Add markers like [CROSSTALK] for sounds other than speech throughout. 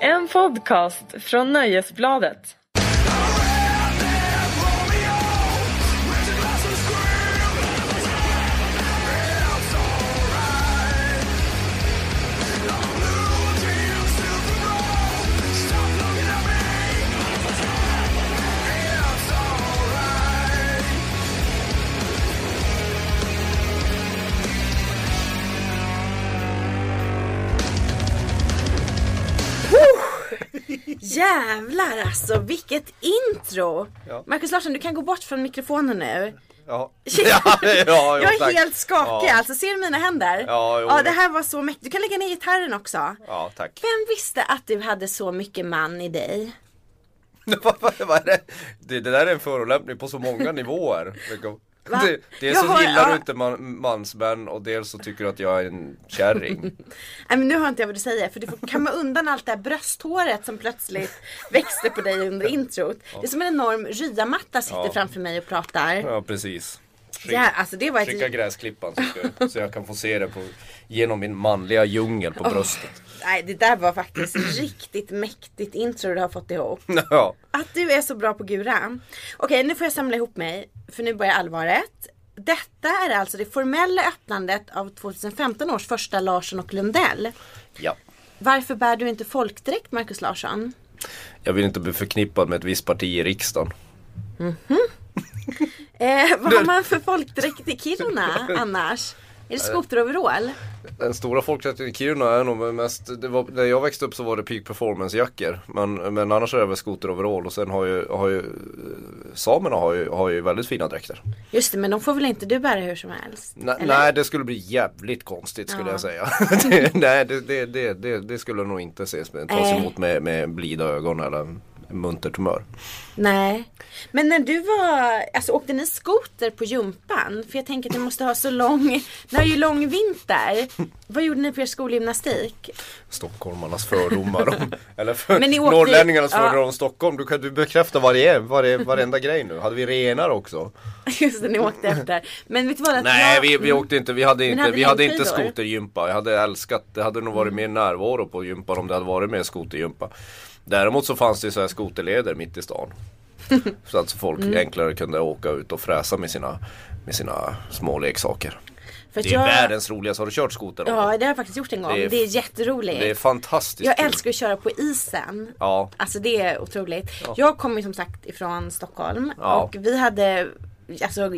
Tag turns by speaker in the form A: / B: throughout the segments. A: En podcast från Nöjesbladet.
B: Jävlar alltså, vilket intro!
C: Ja.
B: Marcus Larsson, du kan gå bort från mikrofonen nu.
C: Ja, [LAUGHS] ja, ja
B: jag är
C: jo, tack.
B: helt skakig
C: Ja,
B: alltså, ser du mina händer?
C: Ja, jo,
B: ja, det
C: det-
B: här var så mäktigt. Du kan lägga ner gitarren också.
C: ja [LAUGHS] tack.
B: Vem visste att du hade så mycket man i dig?
C: Vad- vad- vad är det? det, det där är en förolämpning på så många nivåer. Liksom. [LAUGHS]
B: Va?
C: Det, dels
B: Jag
C: så
B: har-
C: gillar
B: ja.
C: du inte man, mansmän och dels så tycker du att jag är en [LAUGHS] kärring.
B: Nej men nu hör inte jag vad du säger för du får
C: [LAUGHS]
B: kamma undan allt det här brösthåret som plötsligt växte på dig under introt. Det är som en enorm ryamatta sitter
C: Ja.
B: framför mig och pratar.
C: Ja precis. Skick-
B: Ja, alltså det var ett...
C: Skicka gräsklippan så, ska, så jag kan få se det på, genom min manliga djungel på bröstet. [LAUGHS]
B: Nej det där var faktiskt riktigt mäktigt intro du har fått ihop.
C: Ja,
B: Att du är så bra på Gura. Okej, nu får jag samla ihop mig för nu börjar allvaret. Detta är alltså det formella öppnandet av 2015 års första Larsson och Lundell.
C: ja.
B: Varför bär du inte folkdräkt Markus Larsson?
C: Jag vill inte bli förknippad med ett visst parti i riksdagen.
B: Eh, vad har man för folkdräkt i Kiruna annars? Är det skoteroverall?
C: Den stora folkrätten i Kiruna är nog mest, det var, när jag växte upp så var det peak performance jackor men, men annars är det väl skoteroverall och sen har ju, har ju eh, samerna har ju, har ju väldigt fina dräkter.
B: Just det, men de får väl inte du bära hur som helst?
C: Nej,
B: eller?
C: nej det skulle bli jävligt konstigt skulle
B: Ja.
C: jag säga. [LAUGHS] det, nej det, det, det, det, det skulle nog inte ses med, tas
B: Nej.
C: emot med, med blida ögon eller muntert humör.
B: Nej. Men när du var, alltså åkte ni skoter på gympan? För jag tänker att ni måste ha så lång, ni har ju lång vinter. Vad gjorde ni på er skolgymnastik?
C: Stockholmarnas
B: [LAUGHS]
C: fördomar om, eller för,
B: Men ni åkte-
C: norrlänningarnas
B: ja.
C: fördomar om Stockholm. Du kan du bekräfta varje, varje, varenda grej nu. Hade vi renar också?
B: [LAUGHS] Just det, ni åkte efter. Men vet du vad? att
C: Nej
B: jag-
C: vi, vi åkte inte, vi hade inte,
B: hade ni Mm.
C: vi hade inte
B: längdskidor?
C: skotergympa. Jag hade älskat, det hade nog varit mer närvaro på gympan om det hade varit mer skotergympa. Däremot så fanns det ju så här skoterleder mitt
B: [LAUGHS]
C: i stan. så att folk
B: Mm.
C: enklare kunde åka ut och fräsa med sina, med sina små leksaker.
B: för att
C: Det är
B: jag-
C: världens roligaste, har du kört skoter någon
B: Ja, det
C: gång?
B: har jag faktiskt gjort en gång. Det
C: Det
B: är,
C: är-
B: jätteroligt.
C: Det är fantastiskt
B: jag
C: kul.
B: älskar att köra på isen.
C: Ja,
B: Alltså det är otroligt. Jag kommer ju som sagt ifrån Stockholm
C: Ja.
B: och vi hade, alltså jag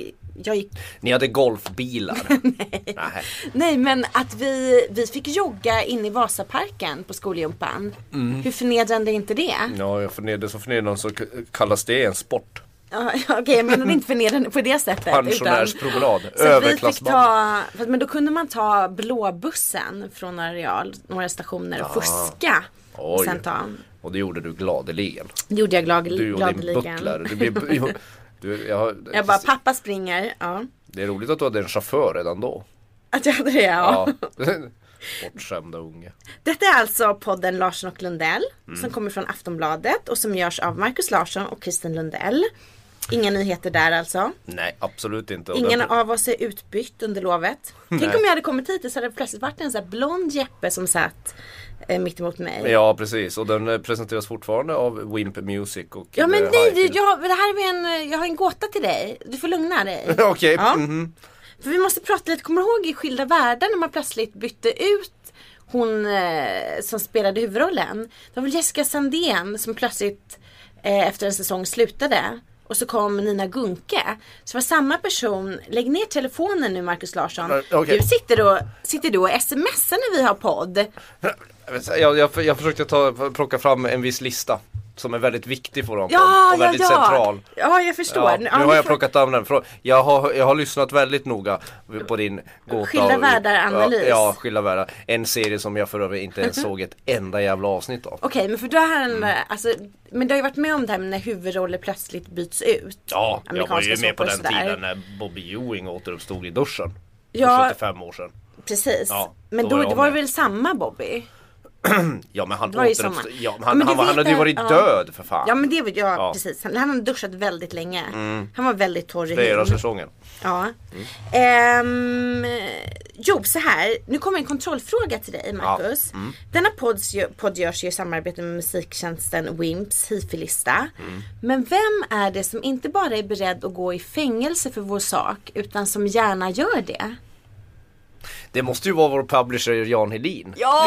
B: gick, [LAUGHS]
C: ni hade golfbilar. Nej.
B: nej men att vi, vi fick jogga in i Vasaparken på skolgympan.
C: Mm.
B: Hur förnedrande är inte det?
C: Ja, jag förnedrar, så förnedrande så k- kallas det en sport.
B: Ja, Okej, jag menade inte förnedrande på det sättet. utan-
C: Pensionärspromenad,
B: Så att vi fick
C: överklassband.
B: ta, för att- men då kunde man ta blåbussen från areal, några stationer och fuska. Och
C: Ah. Oj.
B: sen ta,
C: Och det gjorde du gladeligen.
B: det gjorde jag glad,
C: Du och din
B: gladeligen.
C: butler. Du
B: [LAUGHS]
C: blir, bu- du, jag, har-
B: Jag bara, pappa springer. Ja.
C: det är roligt att du hade en chaufför redan då.
B: Att jag hade det ja.
C: Ja. [LAUGHS] Bortskämda unge.
B: Detta är alltså podden Larsson och Lundell
C: Mm.
B: som kommer från Aftonbladet och som görs av Marcus Larsson och Kristin Lundell. Inga nyheter där alltså.
C: Nej, absolut inte. Och
B: Ingen
C: den-
B: av oss är utbytt under lovet. Tänk om jag hade kommit hit så hade det plötsligt varit en sån här blond Jeppe som satt eh, mitt emot mig.
C: Ja, precis. Och den eh, presenteras fortfarande av Wimp Music och
B: Ja men
C: eh,
B: nej,
C: Hi-Fi.
B: du, jag, det här är en, jag har en gåta till dig. Du får lugna
C: [LAUGHS]
B: dig.
C: [LAUGHS] Okej,
B: Ja.
C: mhm.
B: För vi måste prata lite, kommer du ihåg i Skilda världar när man plötsligt bytte ut hon eh, som spelade huvudrollen? Det var väl Jessica Sandén som plötsligt eh, efter en säsong slutade. Och så kom Nina Gunke. Så det var samma person. Lägg ner telefonen nu Markus Larsson.
C: Ja, okej.
B: Du sitter, och, sitter du och smsar när vi har podd.
C: jag, jag, jag försökte ta, plocka fram en viss lista. Som är väldigt viktig för dem.
B: Ja,
C: och
B: ja,
C: väldigt
B: ja.
C: central.
B: Ja, jag förstår.
C: Ja, nu
B: Ja,
C: har jag
B: får-
C: plockat fram den. Frå- Jag har, jag har lyssnat väldigt noga på din gåta.
B: Skilda
C: och-
B: världar-analys.
C: Ja, ja, skilda världar. En serie som jag för övrigt inte ens såg ett enda jävla avsnitt av.
B: Okej, men för då har han,
C: Mm.
B: alltså, men du har ju varit med om det här när huvudroller plötsligt byts ut.
C: Ja, jag var
B: Amerikanska
C: ju med på
B: såpor och
C: den
B: sådär.
C: tiden när Bobby Ewing återuppstod i duschen.
B: Ja.
C: För 75 år sedan.
B: Precis.
C: Ja,
B: men då,
C: då var
B: var
C: jag
B: det var
C: med.
B: väl samma Bobby?
C: ja men han
B: Det var ju sommar.
C: återuppstod. Ja, men
B: Ja,
C: han,
B: men du
C: han, var-
B: vet
C: han hade ju
B: när-
C: varit
B: ja.
C: död för fan.
B: Ja men det var, ja, Mm.
C: Ja.
B: precis. Han, han hade duschat väldigt länge. Han var väldigt torr i
C: Flera
B: hyn.
C: säsongen.
B: Ja. Ehm, jo, så här. Nu kommer en kontrollfråga till dig, Marcus. Denna podd, podd görs ju i samarbete med musiktjänsten Wimps hifi-lista. Men vem är det som inte bara är beredd att gå i fängelse för vår sak, utan som gärna gör det?
C: Det måste ju vara vår publisher Jan Hedin.
B: Ja!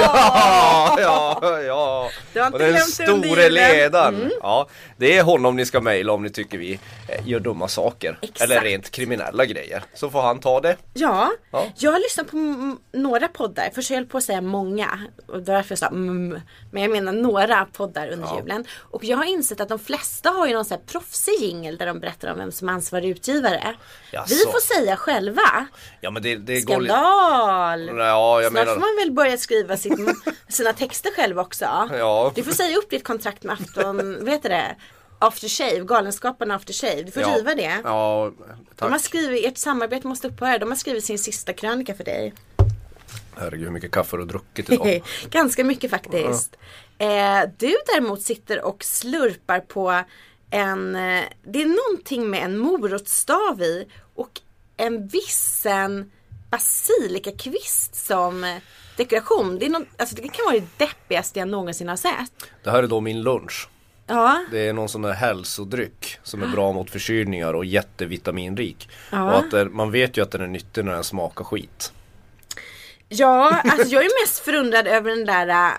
C: Ja, [LAUGHS] ja, ja.
B: Du har inte
C: Och den
B: glömt Mm. det under
C: store
B: julen.
C: ledaren. Ja, det är honom ni ska mejla om ni tycker vi eh, gör dumma saker.
B: Exakt.
C: Eller rent kriminella grejer. Så får han ta det.
B: Ja,
C: Ja.
B: jag har lyssnat på m- några poddar. Först höll jag på att säga många. Och det var därför jag sa mm. Men jag menar några poddar under
C: Ja.
B: julen. Och jag har insett att de flesta har ju någon sån här proffsig jingel där de berättar om vem som är ansvarig utgivare.
C: Jaså.
B: Vi får säga själva.
C: Ja men det, det går lite...
B: Skandal!
C: Ja, jag
B: Snart
C: menar...
B: får man väl börja skriva sitt, [LAUGHS] sina texter själv också.
C: Ja.
B: Du får säga upp ditt kontrakt med
C: [LAUGHS]
B: afton, vet du det? After Shave, Galenskaparna After Shave. Du får
C: ja.
B: riva det.
C: Ja,
B: De har
C: tack.
B: skrivit, ert samarbete måste upphöra. De har skrivit sin sista krönika för dig.
C: Herregud hur mycket kaffe du har druckit idag.
B: [LAUGHS] Ganska mycket faktiskt. Eh, du däremot sitter och slurpar på en, eh, det är någonting med en morotsstav i och en vissen basilikakvist som eh, dekoration. Det, är någon, alltså det kan vara det deppigaste jag någonsin har sett.
C: Det här är då min lunch.
B: Ja,
C: Det är någon sån där hälsodryck som är bra mot förkylningar och jättevitaminrik.
B: Ja.
C: Och att det, man vet ju att den är nyttig när den smakar skit.
B: ja alltså jag är mest förundrad över den där eh,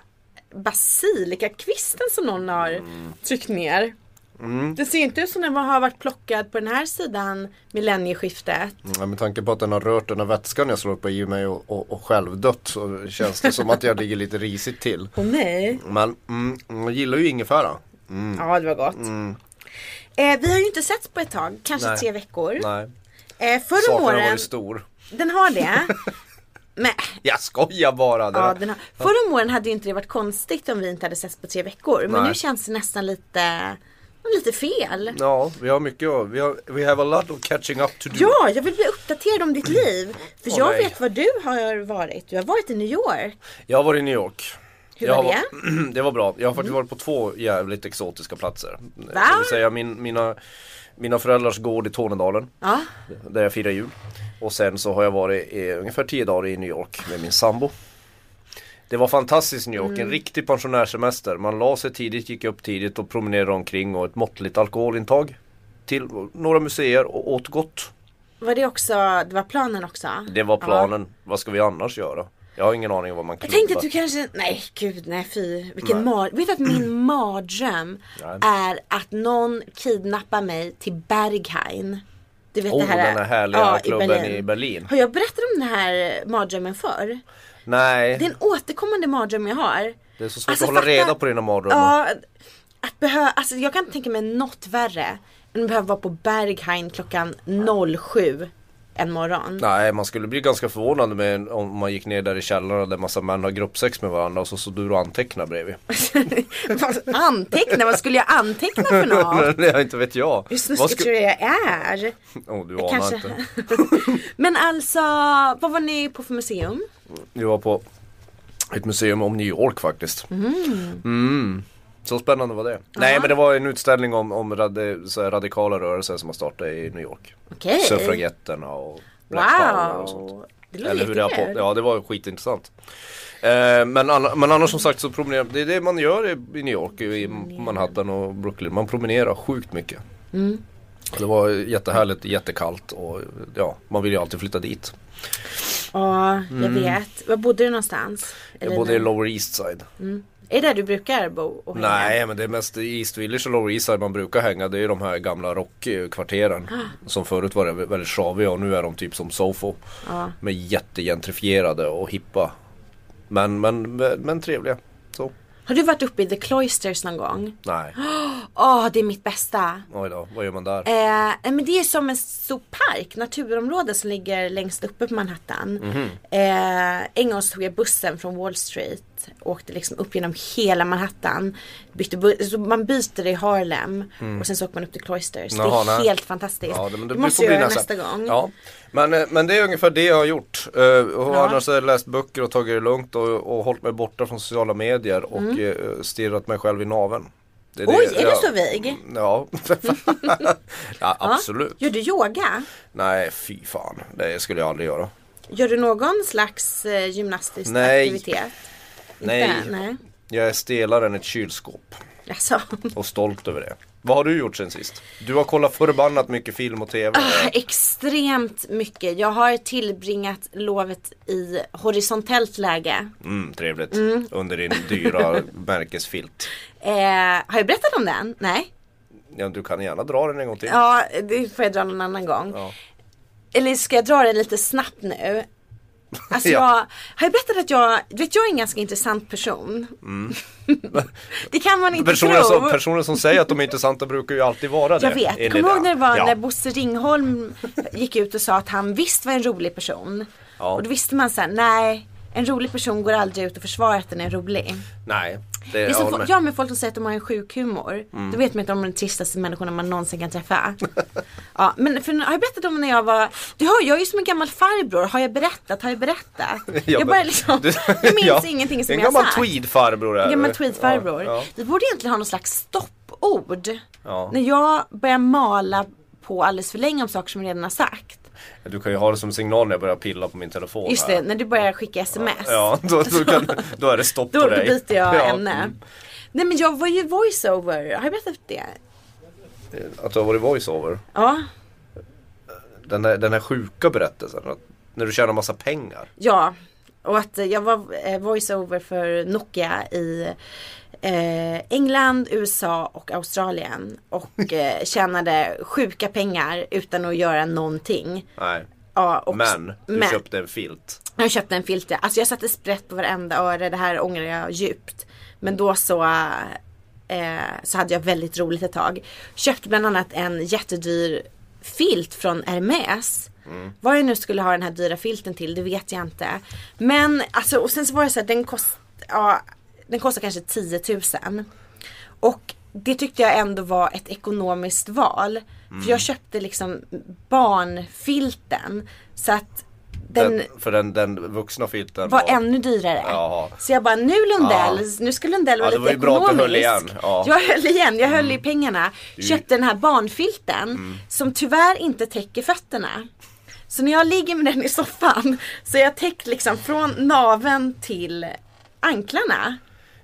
B: basilikakvisten som någon har tryckt ner.
C: Mm.
B: Det ser inte ut som den har varit plockad på den här sidan millennieskiftet.
C: Ja, med tanke på att den har rört den här vätskan jag slår på i mig och, och, och självdött så känns det som att jag ligger lite risigt till.
B: Åh nej.
C: Men mm, jag gillar ju ingefära. Mm,
B: Ja, det var gott. Eh, vi har ju inte sett på ett tag, kanske
C: Nej.
B: tre veckor.
C: nej,
B: Eh, förra om
C: saken har
B: åren,
C: varit stor.
B: den har
C: [LAUGHS]
B: det. Men,
C: Jag skojar bara! Det
B: ja,
C: där.
B: den har, förra om åren hade ju inte det varit konstigt om vi inte hade sett på tre veckor. Men
C: Nej.
B: nu känns det nästan lite, lite fel.
C: ja, vi har mycket att- vi har, we have a lot of catching up to do.
B: Ja, jag vill bli uppdaterad om ditt liv. För
C: Åh,
B: jag
C: nej.
B: vet vad du har varit. Du har varit i New York.
C: Jag har varit i New York.
B: Hur var
C: jag
B: Mm.
C: har varit- [CLEARS THROAT] det var bra. Jag har faktiskt varit på två jävligt exotiska platser.
B: Va?
C: Det vill säga min, mina, mina föräldrars gård i Tornedalen.
B: Ja,
C: Där jag firar jul. Och sen så har jag varit i, ungefär 10 dagar i New York med min sambo. Det var fantastiskt New York,
B: Mm.
C: en riktig pensionärssemester. Man la sig tidigt, gick upp tidigt och promenerade omkring och ett måttligt alkoholintag. Till några museer och åt gott.
B: var det också, det var planen också?
C: Det var
B: Ja.
C: planen. Vad ska vi annars göra? Jag har ingen aning om vad man
B: Jag
C: klubbar.
B: tänkte att du kanske, nej gud nej fy. Vilken
C: Nej. Mm.
B: mar... Vet du att min mardröm
C: Nej.
B: är att någon kidnappar mig till Berghain. Du vet
C: Oh,
B: det här
C: den här härliga klubben i Berlin.
B: Har jag berättat om den här mardrömmen förr?
C: Nej,
B: Det är en återkommande mardröm jag har.
C: det är så svårt
B: Alltså,
C: att hålla
B: fatta-
C: reda på dina mardrömmar.
B: Ja, att behöva, alltså jag kan inte tänka mig något värre än att behöva vara på Berghain klockan 07 en morgon.
C: Nej, man skulle bli ganska förvånad med, om man gick ner där i källaren där massa män har gruppsex med varandra och så stod du och antecknade bredvid.
B: anteckna, [LAUGHS] vad skulle jag anteckna för
C: [LAUGHS]
B: något?
C: Nej, inte vet jag.
B: Hur
C: Vad
B: snuskigt
C: sku-
B: tror du jag är?
C: Åh, du anar inte.
B: Kanske. Men alltså, vad var ni på för museum?
C: Vi var på ett museum om New York faktiskt. Mm. Så spännande var det. Nej men det var en utställning om, om rad- så här radikala rörelser som har startat i New York.
B: Okej.
C: Suffragetterna och Black Power och sånt.
B: Wow. Det låter
C: Eller hur det har på,
B: jättekul.
C: ja det var skitintressant. Eh, men, anna, men annars som sagt så promenerar, det är det man gör i, i New York, i Manhattan och Brooklyn. Man promenerar sjukt mycket.
B: Mm.
C: Det var jättehärligt, jättekallt och ja, man vill ju alltid flytta dit.
B: Ja, jag vet. Var bodde du någonstans?
C: Mm. Jag
B: Elina?
C: bodde i Lower East Side.
B: Är det där du brukar bo? Och hänga?
C: Nej men det är mest i East Village och Lower East Side man brukar hänga. Det är ju de här gamla rockkvarteren.
B: Ah.
C: Som förut var det väldigt sjaviga och nu är de typ som Sofo.
B: Ja.
C: Men jättegentrifierade och hippa. Men, men, men, men trevliga. Så.
B: Har du varit uppe i The Cloisters någon gång?
C: Nej,
B: Åh, det är mitt bästa.
C: oj då, vad gör man där?
B: Eh, nej, men det är som en stor park, naturområde
C: Mhm.
B: som ligger längst uppe på Manhattan. Eh, en gång så tog jag bussen från Wall Street året. Åkte liksom upp genom hela Manhattan. Bytte bu- så man byter i Harlem och sen så åker man upp till Cloisters.
C: Mm. Jaha,
B: det är
C: nej.
B: helt fantastiskt.
C: Ja, det, men det,
B: det måste
C: får
B: jag
C: bli
B: göra
C: nästa,
B: nästa gång.
C: Ja. Men, eh, men det är ungefär det jag har gjort. Eh, och
B: Ja.
C: Annars har jag läst böcker och tagit det lugnt och, och hållit mig borta från sociala medier och eh, stirrat mig själv i naveln. Det
B: Mm. Oj, är du
C: jag- Mm,
B: så vig?
C: Ja, [LAUGHS] ja absolut.
B: Gör du yoga?
C: Nej, fy fan. Det skulle jag aldrig göra.
B: Gör du någon slags eh, gymnastisk
C: Nej.
B: aktivitet?
C: Nej,
B: Inte? Nej.
C: jag är stelare än ett kylskåp
B: Alltså.
C: och stolt över det. Vad har du gjort sen sist? Du har kollat förbannat mycket film och tv.
B: Ah, Extremt mycket. Jag har tillbringat lovet i horisontellt läge.
C: Mm, trevligt. Under din
B: [LAUGHS]
C: dyra märkesfilt.
B: Eh, har jag berättat om den? Nej.
C: Ja, du kan gärna dra den en gång till.
B: Ja, det får jag dra någon annan gång.
C: Ja.
B: Eller ska jag dra den lite snabbt nu? Alltså
C: [LAUGHS] Ja.
B: jag, har jag berättat att jag, du vet jag är en ganska intressant person. [LAUGHS] det kan man inte
C: Mm. Personer,
B: tro.
C: som, personer som säger att de är intressanta brukar ju alltid vara det.
B: jag vet,
C: enligt
B: kommer du ihåg
C: det.
B: när det var
C: ja.
B: när Bosse Ringholm gick ut och sa att han visst var en rolig person.
C: Ja.
B: Och då visste man såhär, nej en rolig person går aldrig ut och försvarar att den är rolig.
C: Nej, det,
B: Det är
C: jag
B: som
C: håller
B: folk,
C: med. [LAUGHS]
B: ja men folk som säger att de har en sjuk humor.
C: Mm.
B: Då vet man att de är de tristaste människorna man någonsin kan träffa. [LAUGHS] ja, men för, har jag berättat om när jag var, du hör jag är ju som en gammal farbror. Har jag berättat? Har jag
C: [LAUGHS]
B: berättat? jag
C: men-
B: bara liksom, jag minns
C: Ja.
B: ingenting som
C: en
B: jag har
C: gammal
B: sagt.
C: tweedfarbror är
B: En gammal
C: du.
B: tweedfarbror.
C: Ja,
B: Vi borde egentligen ha någon slags stoppord.
C: Ja.
B: När jag börjar mala på alldeles för länge om saker som jag redan har sagt.
C: ja. Du kan ju ha det som signal när jag börjar pilla på min telefon.
B: Just
C: här.
B: det, när du börjar skicka sms.
C: Ja, då, då, kan, då är det stopp
B: Då,
C: på
B: då
C: dig.
B: byter jag
C: [LAUGHS] ja.
B: ämne. Nej men jag var ju voiceover, har jag berättat det?
C: mm. Att du har varit voiceover.
B: Ja,
C: Den här, den här sjuka berättelsen. Att när du tjänar massa pengar.
B: Ja, och att eh, jag var eh, voiceover för Nokia i eh, England, USA och Australien. Och eh, tjänade sjuka pengar utan att göra någonting.
C: Nej.
B: Ja, och
C: Men du
B: men
C: köpte en filt.
B: jag köpte en filter. Alltså jag satte sprätt på varenda öre. Det här ångrar jag djupt. Men då så, eh, så hade jag väldigt roligt ett tag. Köpte bland annat en jättedyr filt från Hermes. Vad jag nu skulle ha den här dyra filten till, det vet jag inte. Men alltså, och sen så var det så här, den kost, ja, den kostar kanske 10 000. Och det tyckte jag ändå var ett ekonomiskt val. För jag köpte liksom barnfilten. Så att den,
C: Den, Eh, för den, den vuxna filten
B: var ännu dyrare.
C: Jaha.
B: Så jag bara, nu Lundell,
C: Ja.
B: nu ska Lundell vara
C: Ja, det var
B: lite
C: ju bra att du
B: ekonomisk.
C: höll igen. Ja. Mm.
B: Jag höll igen, jag höll i pengarna.
C: ju- Mm.
B: Köpte den här barnfilten som tyvärr inte täcker fötterna. Så när jag ligger med den i soffan så är jag täckt liksom från naven till anklarna.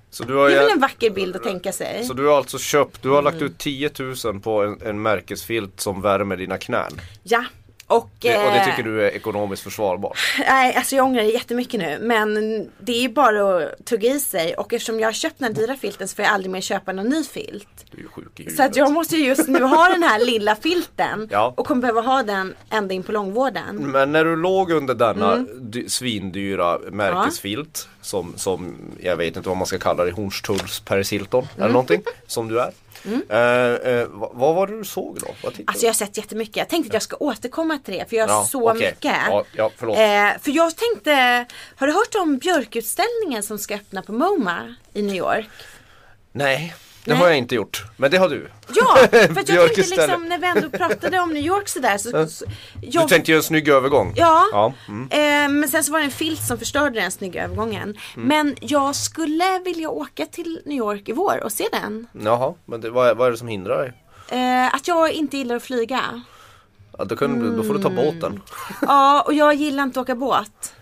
C: Så du har
B: Det är väl
C: ju-
B: en vacker bild att tänka sig.
C: Så du har alltså köpt, du har lagt
B: Mm.
C: ut 10 000 på en, en märkesfilt som värmer dina knän.
B: Ja. Och,
C: Det, och det
B: eh,
C: tycker du är ekonomiskt försvarbart.
B: Nej, alltså jag ångrar det jättemycket nu. Men det är ju bara att tugga i sig. Och eftersom jag har köpt den här dyra filten så får jag aldrig mer köpa någon ny filt.
C: Du är ju sjuk i
B: Så
C: huvudet.
B: att jag måste ju just nu ha den här lilla filten
C: Ja.
B: och kommer behöva ha den ända in på långvården.
C: Men när du låg under denna
B: Mm.
C: dy- svindyra märkesfilt som, som jag vet inte vad man ska kalla det, Hornstulls Paris Hilton
B: Mm.
C: eller någonting som du är. Eh, eh, vad, vad var det du såg då? Vad tittade
B: Alltså jag har sett jättemycket. Jag tänkte att jag ska återkomma till det för jag har
C: Ja,
B: så
C: okej.
B: mycket.
C: Ja, ja, förlåt.
B: Eh, för jag tänkte, har du hört om björkutställningen som ska öppna på MoMA i New York?
C: Nej, det
B: Nej.
C: har jag inte gjort. Men det har du. [LAUGHS]
B: Ja, för att jag tänkte
C: Björkutställning.
B: liksom när vi ändå pratade om New York sådär så, så jag,
C: Du tänkte göra en snygg övergång.
B: Ja,
C: ja. mm.
B: eh, men sen så var det en filt som förstörde den snygga övergången.
C: Mm.
B: Men jag skulle vilja åka till New York i vår och se den.
C: Jaha, men det, vad, är- vad är det som hindrar dig?
B: Eh, att jag inte gillar att flyga.
C: Ja, då, kunde, då får du ta båten.
B: Ja, och jag gillar inte att åka båt.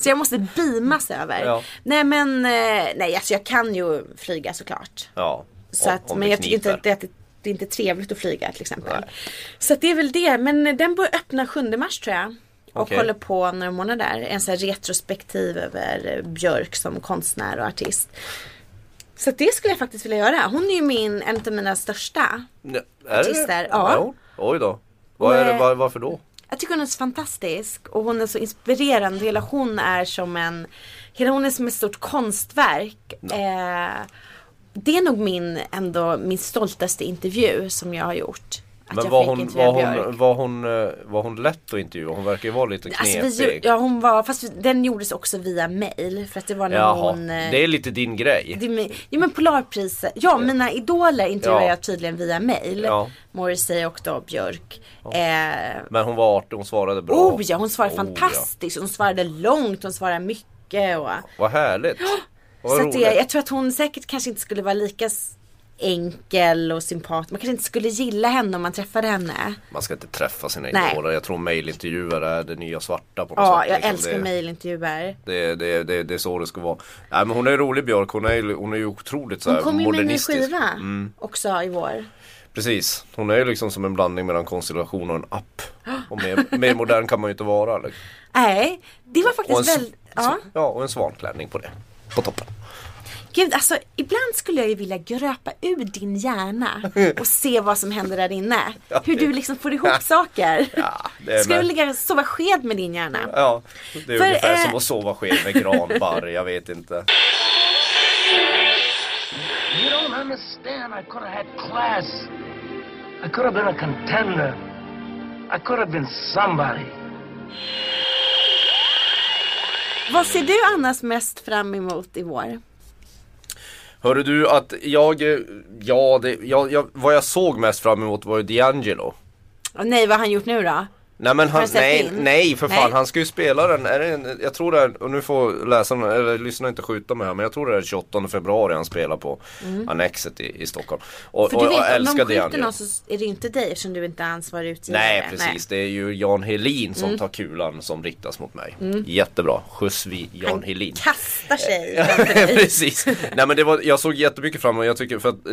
B: så jag måste beamas över.
C: Ja.
B: Nej men, eh, nej alltså jag kan ju flyga såklart.
C: [LAUGHS] Ja,
B: Så
C: om-
B: att,
C: om
B: men
C: det
B: jag tycker inte
C: kniper.
B: att det, att det- det är inte trevligt att flyga till exempel.
C: Nej.
B: Så att det är väl det. Men eh, den börjar öppna 7 mars tror jag. Och
C: Okej.
B: håller på några månader. En sån här retrospektiv över eh, Björk som konstnär och artist. Så att det skulle jag faktiskt vilja göra. Hon är ju min, en av mina största.
C: Nej, är det
B: artister,
C: det?
B: ja.
C: Jo, Oj då. Vad är det,
B: Nej.
C: var, varför då?
B: Jag tycker hon är så fantastisk och hon är så inspirerande. Hela hon är som en, hela hon är som ett stort konstverk. Eh, det är nog min, ändå min stoltaste intervju som jag har gjort. jag
C: Men var
B: fick
C: hon,
B: intervjua
C: var, hon,
B: Björk.
C: var, hon, eh, var hon lätt att intervjua? Hon verkar ju vara lite
B: Alltså,
C: knepig.
B: vi, gjorde- ja hon var, fast den gjordes också via mail för att det var när
C: Jaha,
B: hon eh,
C: det är lite din grej.
B: Det är min- Jo men Polarpriset, ja mina idoler intervjuar
C: Ja.
B: jag tydligen via mail.
C: Ja.
B: Morrissey och då Björk. Eh,
C: Men hon var artig, hon svarade bra.
B: oh ja, hon svarade
C: Oh, ja.
B: fantastiskt. Hon svarade långt, hon svarade mycket. Och,
C: Vad härligt. Vad
B: [GASPS] så att
C: roligt.
B: det, jag tror att hon säkert kanske inte skulle vara lika s- enkel och sympatisk. Man kanske inte skulle gilla henne om man träffade henne.
C: Man ska inte träffa sina
B: Nej.
C: idoler. Jag tror mejlintervjuer är det nya svarta på något
B: Ja,
C: sätt.
B: jag
C: liksom.
B: älskar
C: det,
B: mailintervjuer.
C: Det, det, det, det är så det ska vara. Nej, men hon är rolig Björk. Hon är, ju- hon är ju otroligt så
B: Hon
C: här,
B: kom ju med en ny
C: modernistisk. Mm.
B: skiva också i vår.
C: Precis. Hon är ju liksom som en blandning mellan konstellation och en
B: [GASPS]
C: app. Och mer, mer modern kan man ju inte vara. Liksom.
B: Nej, det var
C: Och, en,
B: faktiskt
C: s-
B: väldigt... Ja.
C: s- ja, och en svanklänning på det. På toppen.
B: Gud, alltså ibland skulle jag ju vilja gröpa ur din
C: [LAUGHS]
B: hjärna och se vad som händer där inne. Hur du liksom får ihop saker.
C: Ja, det är
B: Skulle
C: med.
B: du ligga och sova sked med din hjärna?
C: Ja, det är
B: För,
C: ungefär
B: eh,
C: som att sova sked med granbarr. Jag vet inte.
D: You don't understand. I could have had class. I could have been a contender. I could have been somebody.
B: Vad ser du annars mest fram emot i vår?
C: Hörru du att jag, eh, ja, det, jag, jag, vad jag såg mest fram emot var ju D'Angelo.
B: Åh, nej, vad har han gjort nu då?
C: Nej men han,
B: Har du sett
C: nej,
B: in?
C: nej för fan
B: Nej.
C: han ska ju spela den, är det en, jag tror det är, och nu får läsarna, eller lyssnarna inte skjuta mig här men jag tror det är den 28 februari han spelar på Annexet i, i Stockholm. Och,
B: Mm. För
C: och
B: du
C: jag
B: vet, om
C: älskar
B: de skjuter
C: D'Angelo.
B: någon så är det ju inte dig eftersom du inte är ansvarig utgivare.
C: Nej precis, det är ju Jan Helin
B: Mm.
C: som tar kulan som riktas mot mig. Jättebra, skjuts vi Jan Helin.
B: Kastar
C: [LAUGHS]
B: sig.
C: Precis. Nej men det var, jag såg jättemycket fram emot, jag tycker för att eh,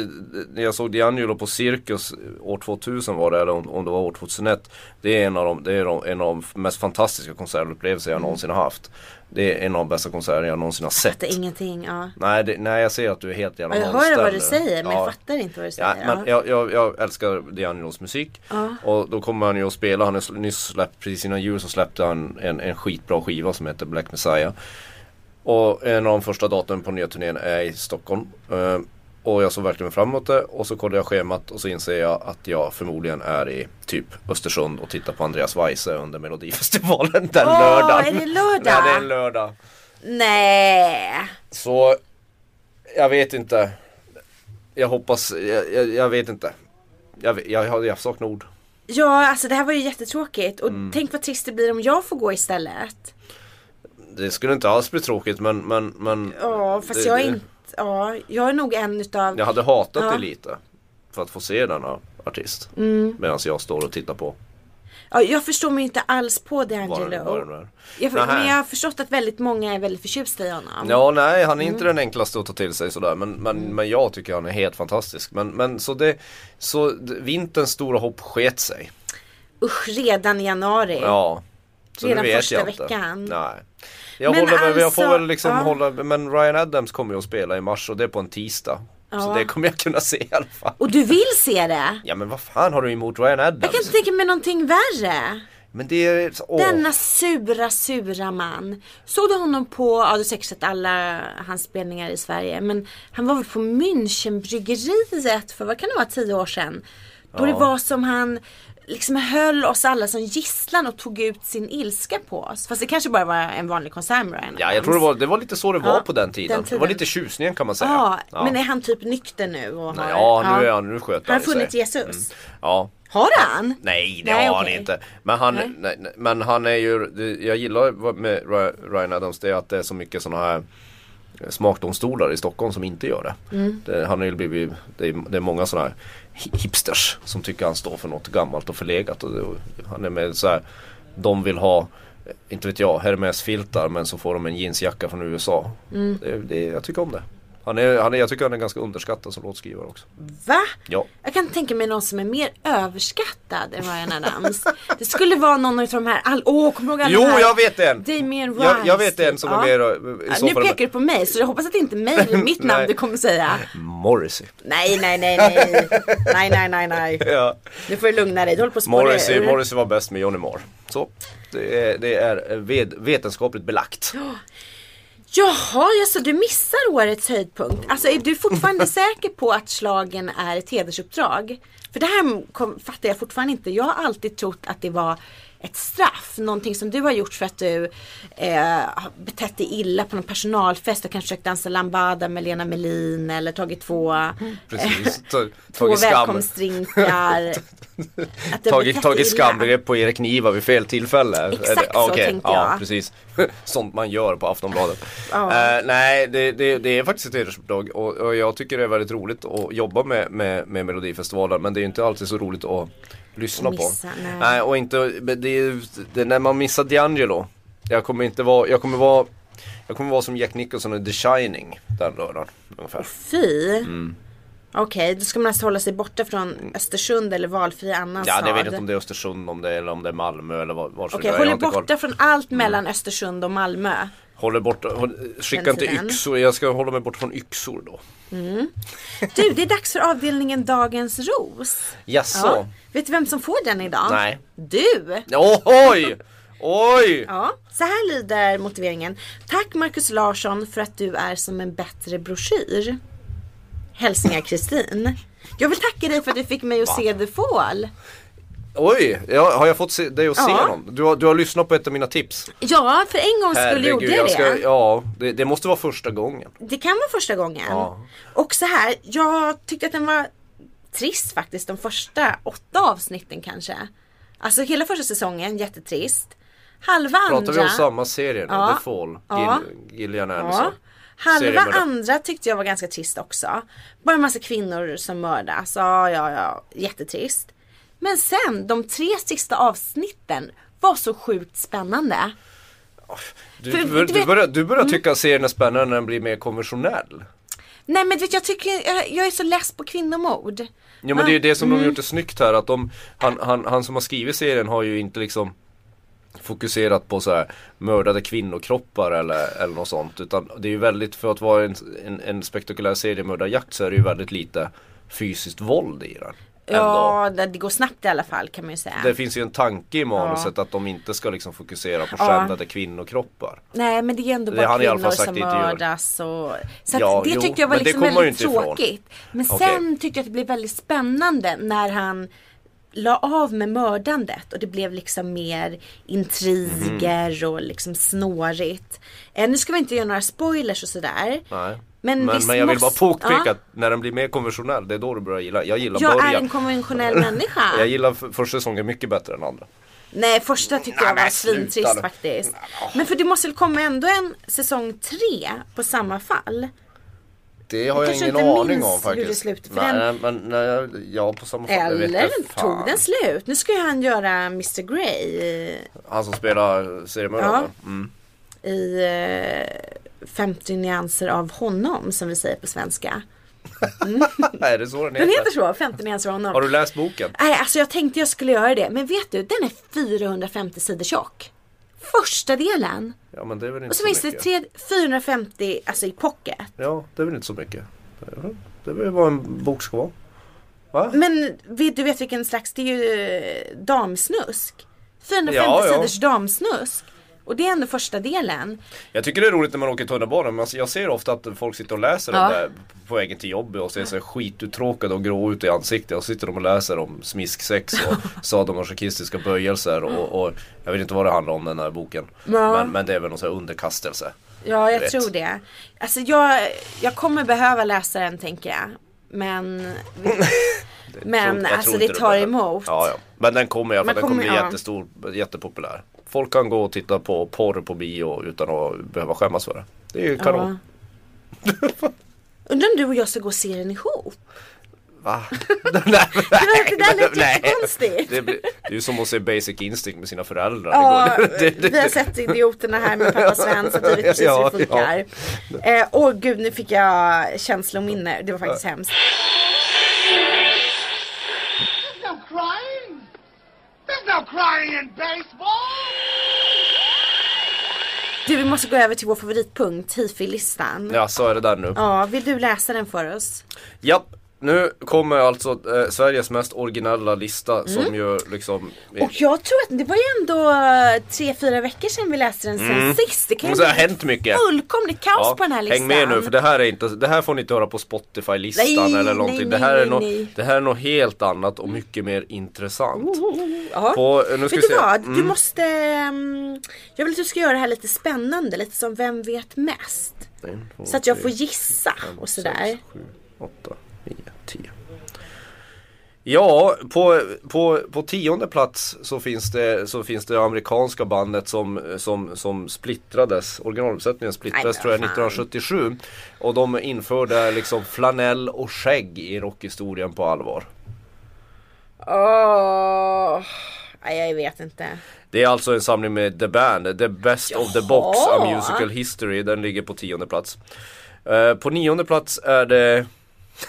C: när jag såg D'Angelo på Cirkus eh, år 2000 var det, eller om, om det var år 2001. Det är en av de, det är de- en av de mest fantastiska konsertupplevelser
B: Mm.
C: jag någonsin har haft. Det är en av de bästa konserter jag någonsin har sett.
B: Det är ingenting, ja.
C: Nej, det, nej jag ser att du är helt jävla
B: Ja, Jag hör
C: nollställd
B: vad
C: nu.
B: du säger men
C: Ja.
B: jag fattar inte vad du
C: Ja,
B: säger.
C: men jag, jag, jag älskar D'Angelos musik och då kommer han ju att spela, han har sl- nyss släppt, precis innan jul så släppte han en, en skitbra skiva som heter Black Messiah. Och en av de första datumen på nya turnén är i Stockholm. Eh, och jag såg verkligen fram emot det och så kollade jag schemat och så inser jag att jag förmodligen är i typ Östersund och tittar på Andreas Weise under Melodifestivalen den
B: Åh,
C: lördagen.
B: är det lördag?
C: Ja det är en lördag.
B: Nej.
C: Så jag vet inte. Jag hoppas, jag, jag, jag vet inte. Jag, vet- jag, jag, jag saknar ord.
B: Ja, alltså det här var ju jättetråkigt. Och
C: Mm.
B: tänk vad trist det blir om jag får gå istället.
C: Det skulle inte alls bli tråkigt men, men, men
B: Ja, fast
C: det-
B: jag är
C: det-
B: inte... Ja, jag är nog en utav...
C: jag hade hatat
B: Ja. Mm.
C: det lite. För att få se denna artist. Medan jag står och tittar på
B: Ja, jag förstår mig inte alls på
C: vad den, vad den
B: D'Angelo.
C: är.
B: Jag,
C: Nähä.
B: men jag har förstått att väldigt många är väldigt förtjusta i honom.
C: Ja nej han är inte
B: Mm.
C: den enklaste att ta till sig sådär men, men, men jag tycker han är helt fantastisk. Men, men så det, så d- vinterns stora hopp sket sig.
B: Usch, redan i januari.
C: Ja. Så
B: Redan
C: nu vet
B: första
C: jag inte.
B: veckan.
C: Nej. Jag,
B: Men
C: håller, alltså, jag får
B: alltså,
C: väl liksom
B: ja.
C: hålla, men Ryan Adams kommer ju att spela i mars och det är på en tisdag. Så
B: Ja.
C: det kommer jag kunna se i alla fall.
B: Och du vill se det?
C: Ja men vad fan har du emot Ryan
B: Jag
C: Adams?
B: kan inte tänka mig någonting värre.
C: Men det är, åh.
B: Denna sura, sura man. Såg du honom på, ja du har säkert sett alla hans spelningar i Sverige, men han var väl på Münchenbryggeriet för vad kan det vara, tio år sedan? Då det var som han liksom höll oss alla som gisslan och tog ut sin ilska på oss. Fast det kanske bara var en vanlig konsert med Ryan
C: Ja jag tror det var, det var lite så det var
B: Ja,
C: på den tiden.
B: den
C: Det var
B: tiden.
C: lite tjusningen kan man säga.
B: Ja,
C: ja.
B: men är han typ nykter nu? Och har,
C: Nej, ja, nu är han, nu sköter
B: Har han
C: sig.
B: funnit Jesus?
C: Mm. Ja.
B: Har han?
C: Nej det
B: Nej,
C: har
B: okej.
C: han inte. Men han,
B: Nej.
C: nej, nej, men han är ju, det- jag gillar vad- med Ry- Ryan Adams det är att det är så mycket sådana här eh, smakdomstolar i Stockholm som inte gör det.
B: Mm.
C: det han har ju blivit, det är, det är många sådana här hi- hipsters som tycker han står för något gammalt och förlegat. Och det, och han är med så här, de vill ha, eh, inte vet jag, Hermes-filtar men så får de en jeansjacka från USA.
B: Mm.
C: Det, det, jag tycker om det. Han är, han är, jag tycker han är ganska underskattad som låtskrivare också.
B: Va?
C: Ja.
B: Jag kan tänka mig någon som är mer överskattad än Ryan Adams. [LAUGHS] Det skulle vara någon av de här, all- åh kommer du ihåg alla
C: Jo,
B: de här?
C: jag vet en!
B: Damien Rice.
C: Jag, jag vet en som
B: typ. Ja.
C: är mer ö, i
B: Ja,
C: så
B: nu
C: fall-
B: pekar du på mig så jag hoppas att det inte är mig eller mitt namn
C: [LAUGHS] Nej.
B: du kommer
C: [LAUGHS]
B: säga.
C: Morrissey.
B: Nej, nej, nej, nej. Nej, nej, nej, nej.
C: Ja.
B: Nu får du lugna dig. Du håller på att spåra
C: Morrissey,
B: ur.
C: Morrissey var bäst
B: [GASPS]
C: eh, med Johnny Marr. Så, det är, det är ved, vetenskapligt belagt.
B: Jaha, alltså du missar årets höjdpunkt. Alltså är du
C: [LAUGHS]
B: fortfarande säker på att slagen är ett hedersuppdrag? För det här kom, fattar jag fortfarande inte. Jag har alltid trott att det var ett straff. Någonting som du har gjort för att du eh, har betett dig illa på någon personalfest och kanske försökt dansa lambada med Lena Melin eller tagit två,
C: Precis. Ta-
B: två
C: Mm. Tagit skam. [LAUGHS]
B: välkomstdrinkar. Att du har
C: Tagit,
B: betett dig
C: tagit
B: illa.
C: skamgrepp på Erik Niva vid fel tillfälle.
B: Exakt
C: Är det-
B: så
C: okej,
B: tänkte
C: ja,
B: jag.
C: Precis. [LAUGHS] Sånt man gör på Aftonbladet.
B: Ja.
C: Eh, nej, det, det, det är faktiskt ett hedersuppdrag och, och jag tycker det är väldigt roligt att jobba med, med, med Melodifestivalen men det är ju inte alltid så roligt att lyssna
B: Missa,
C: på.
B: nej.
C: och inte, men det är, ju- det, när man missar D'Angelo. Jag kommer inte vara, jag kommer vara jag kommer vara som Jack Nicholson i The Shining den lördagen ungefär.
B: Fy.
C: Mm.
B: Okej, då ska man alltså hålla sig borta från Östersund eller valfri annan
C: Ja, det
B: stad.
C: vet inte om det är Östersund om det, eller om det är Malmö eller var, varför
B: Okej,
C: det är.
B: håll er
C: Jag har inte koll. Mm.
B: borta från allt mellan Östersund och Malmö.
C: Håller borta, håll, skicka
B: Den
C: inte
B: tiden.
C: yxor, jag ska hålla mig borta från yxor då.
B: Du, det är dags för avdelningen Dagens Ros.
C: Jaså?
B: Vet du vem som får den idag?
C: Nej.
B: Du!
C: Oj! Oj!
B: Ja, så här lyder motiveringen. Tack Markus Larsson för att du är som en bättre broschyr. Hälsningar Kristin. Jag vill tacka dig för att du fick mig att se The Fall.
C: Oj! Ja, har jag fått se, dig att se
B: Ja.
C: någon? Du har, du har lyssnat på ett av mina tips.
B: Ja, för en gångs skull gjorde jag det.
C: jag ska, ja, det, det måste vara första gången.
B: Det kan vara första gången.
C: Ja.
B: Och så här, jag tyckte att den var trist faktiskt de första åtta avsnitten kanske. Alltså hela första säsongen, jättetrist. Halva
C: Pratar
B: andra.
C: vi om samma serie nu?
B: Ja.
C: The Fall?
B: Ja.
C: Gil, Gillian
B: ja.
C: Anderson?
B: Halva
C: Seriemördare.
B: andra tyckte jag var ganska trist också. Bara en massa kvinnor som mördas. Ja, ja, ja. Jättetrist. Men sen, de tre sista avsnitten var så sjukt spännande.
C: Du,
B: För-
C: du,
B: du
C: du
B: vet- Mm.
C: börjar, du börjar tycka serien är spännande när den blir mer konventionell.
B: Nej men du vet, jag tycker, jag, jag är så less på kvinnomord.
C: Ja men det är
B: Ah.
C: ju det som
B: Mm.
C: de har gjort det snyggt här att de, han, han, han som har skrivit serien har ju inte liksom fokuserat på så här mördade kvinnokroppar eller, eller något sånt utan det är ju väldigt, för att vara en, en, en spektakulär seriemördarjakt så är det ju väldigt lite fysiskt våld i den. Ändå.
B: Ja, det, det går snabbt i alla fall kan man ju säga.
C: Det finns ju en tanke i manuset att de inte ska liksom fokusera på skändade kvinnokroppar.
B: Nej men det är ändå
C: Det
B: bara
C: har ni i alla
B: kvinnor
C: fall
B: som
C: sagt inte gör.
B: mördas och Så att
C: Ja,
B: det
C: jo,
B: tyckte jag var
C: men det
B: liksom
C: kommer man ju
B: väldigt
C: inte ifrån.
B: tråkigt. Men
C: Okej.
B: sen tyckte jag att det blev väldigt spännande när han la av med mördandet och det blev liksom mer intriger
C: Mhm.
B: och liksom snårigt. Eh, nu ska vi inte göra några spoilers och sådär.
C: Nej.
B: Men
C: Men, men,
B: visst
C: jag vill bara
B: måste-
C: påpeka
B: ja.
C: att när den blir mer konventionell det är då du börjar gilla. Jag gillar
B: Jag är
C: början.
B: en
C: [LAUGHS]
B: konventionell människa.
C: Jag gillar f- första säsongen mycket bättre än andra.
B: Nej första tyckte jag
C: Nej,
B: var
C: men sluta
B: svintrist
C: nu.
B: faktiskt. Men för det måste väl komma ändå en säsong tre på samma fall?
C: Det har jag,
B: kanske
C: ingen
B: inte
C: aning
B: minns
C: om faktiskt.
B: hur det slutade, för
C: nej,
B: den-
C: men nej, ja, på samma fall. jag vet
B: Eller
C: inte fan.
B: tog den slut? Nu ska ju han göra Mr Grey i,
C: Han som spelar seriemördaren. Ja. Mm.
B: i eh, 50 nyanser av honom som vi säger på svenska.
C: Är det så den heter?
B: Den heter så, 50 nyanser av honom.
C: Har du läst boken?
B: Nej, alltså jag tänkte jag skulle göra det. Men vet du, den är 450 sidor tjock. Första delen.
C: Ja men det är väl inte
B: Och så
C: så
B: finns det
C: mycket.
B: tre, 450 alltså i pocket.
C: Ja det är väl inte så mycket. Det är- Det är väl vad en bok ska vara.
B: Men vet, du vet vilken slags, det är ju eh, damsnusk. 450
C: Ja, ja.
B: sidors damsnusk. Och det är ändå första delen.
C: Jag tycker det är roligt när man åker tunnelbana men alltså, jag ser ofta att folk sitter och läser
B: Ja.
C: den där på vägen till jobbet och ser så här skituttråkade och grå ut i ansiktet och så sitter de och läser om smisksex
B: [LAUGHS]
C: och sadomasochistiska böjelser och, och jag vet inte vad det handlar om den här boken.
B: Ja.
C: Men, men det är väl någon sån här underkastelse.
B: Ja, jag
C: Rätt.
B: tror det. Alltså jag, jag kommer behöva läsa den tänker jag.
C: [LAUGHS]
B: Men,
C: Jag
B: men
C: tror- jag tror
B: alltså
C: inte
B: det tar
C: behöver-
B: emot.
C: Ja, ja. Men den kommer i alla
B: Men
C: fall, den kommer bli
B: kommer- ja.
C: jättestor, jättepopulär. Folk kan gå och titta på porr på bio utan att behöva skämmas för det. Det är ju kanon. [LAUGHS]
B: Undrar om du och jag ska gå och se den ihop?
C: Va? [LAUGHS] nej, nej,
B: det där lät
C: nej.
B: jättekonstigt.
C: Det, blir- det är ju som att se Basic Instinct med sina föräldrar.
B: Ja,
C: Det går- [LAUGHS] det-
B: [LAUGHS]
C: det-
B: vi har sett idioterna här med pappa Sven så att vi vet precis
C: Ja,
B: hur det funkar. Åh eh, åh, gud, nu fick jag känslominne. Det var faktiskt hemskt.
D: There's no crying. There's no crying in baseball.
B: Du, vi måste gå över till vår favoritpunkt, hifi-listan. Ja.
C: Ja, så är det där nu.
B: vill du läsa den för oss?
C: Japp, nu kommer alltså eh, Sveriges mest originella lista som ju liksom
B: Mm. Och jag tror att det var ju ändå eh, tre, fyra veckor sedan vi läste den sen sist. Det kan ju
C: Men Mm. det har
B: bli
C: hänt mycket.
B: fullkomligt kaos
C: Ja,
B: på den här listan.
C: Häng med nu för det här är inte, det här får ni inte höra på Spotify-listan
B: Nej,
C: eller
B: nej,
C: någonting.
B: nej,
C: det, här är
B: nej,
C: nå-
B: nej.
C: det här är något helt annat och mycket mer intressant.
B: Ja.
C: På, eh, nu ska
B: Oh, Vet du
C: vi se.
B: vad? Du
C: Mm.
B: måste... ehm, Jag vill att du ska göra det här lite spännande, lite som Vem vet mest?
C: En, två,
B: Så att jag
C: tre,
B: får gissa och sådär.
C: sex, sju, åtta, nio, tio. Ja, på, på, på tionde plats så finns det, så finns det amerikanska bandet som, som, som splittrades. Originaluppsättningen
B: Nej,
C: splittrades
B: men
C: tror jag
B: fan.
C: 1977. Och de införde liksom flanell och skägg i rockhistorien på allvar.
B: Åh, nej, jag vet inte.
C: Det är alltså en samling med The Band, The Best of the Box, A
B: Jaha.
C: Musical History. Den ligger på tionde plats. Eh, på nionde plats är det...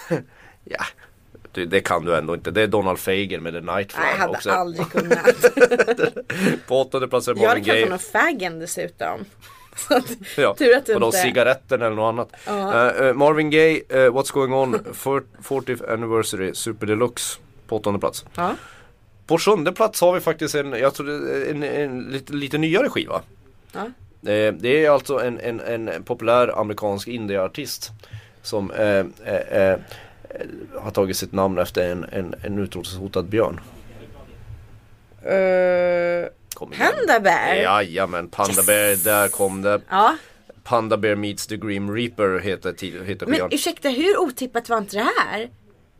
C: [LAUGHS] ja, det, det kan du ändå inte. Det är Donald Fagen med The Night
B: Nej, jag
C: Fly.
B: hade
C: också. [LAUGHS]
B: aldrig kunnat.
C: På åttonde plats är det
B: jag hade
C: Marvin
B: kanske
C: Gaye.
B: någon Faggen dessutom. [LAUGHS] Så att,
C: Ja,
B: tur att du
C: vadå,
B: inte...
C: cigaretten eller något annat. Eh, eh, Marvin Gaye, eh, What's Going On,
B: [LAUGHS]
C: 40th Anniversary, Super Deluxe. På åttonde plats.
B: Ja.
C: På sjunde plats har vi faktiskt en, jag tror det är en, en lite, lite nyare skiva.
B: Ja.
C: Eh, Det är alltså en, en, en populär amerikansk indieartist som eh, eh, eh, eh, har tagit sitt namn efter en, en, en utrotningshotad björn.
B: Eh,
C: Kom igen.
B: Panda Bear?
C: Jajamän, Panda Bear, där kom det.
B: Ja.
C: Panda Bear meets the Grim Reaper heter, ti- heter
B: Men
C: skivan.
B: ursäkta, hur otippat var inte det här?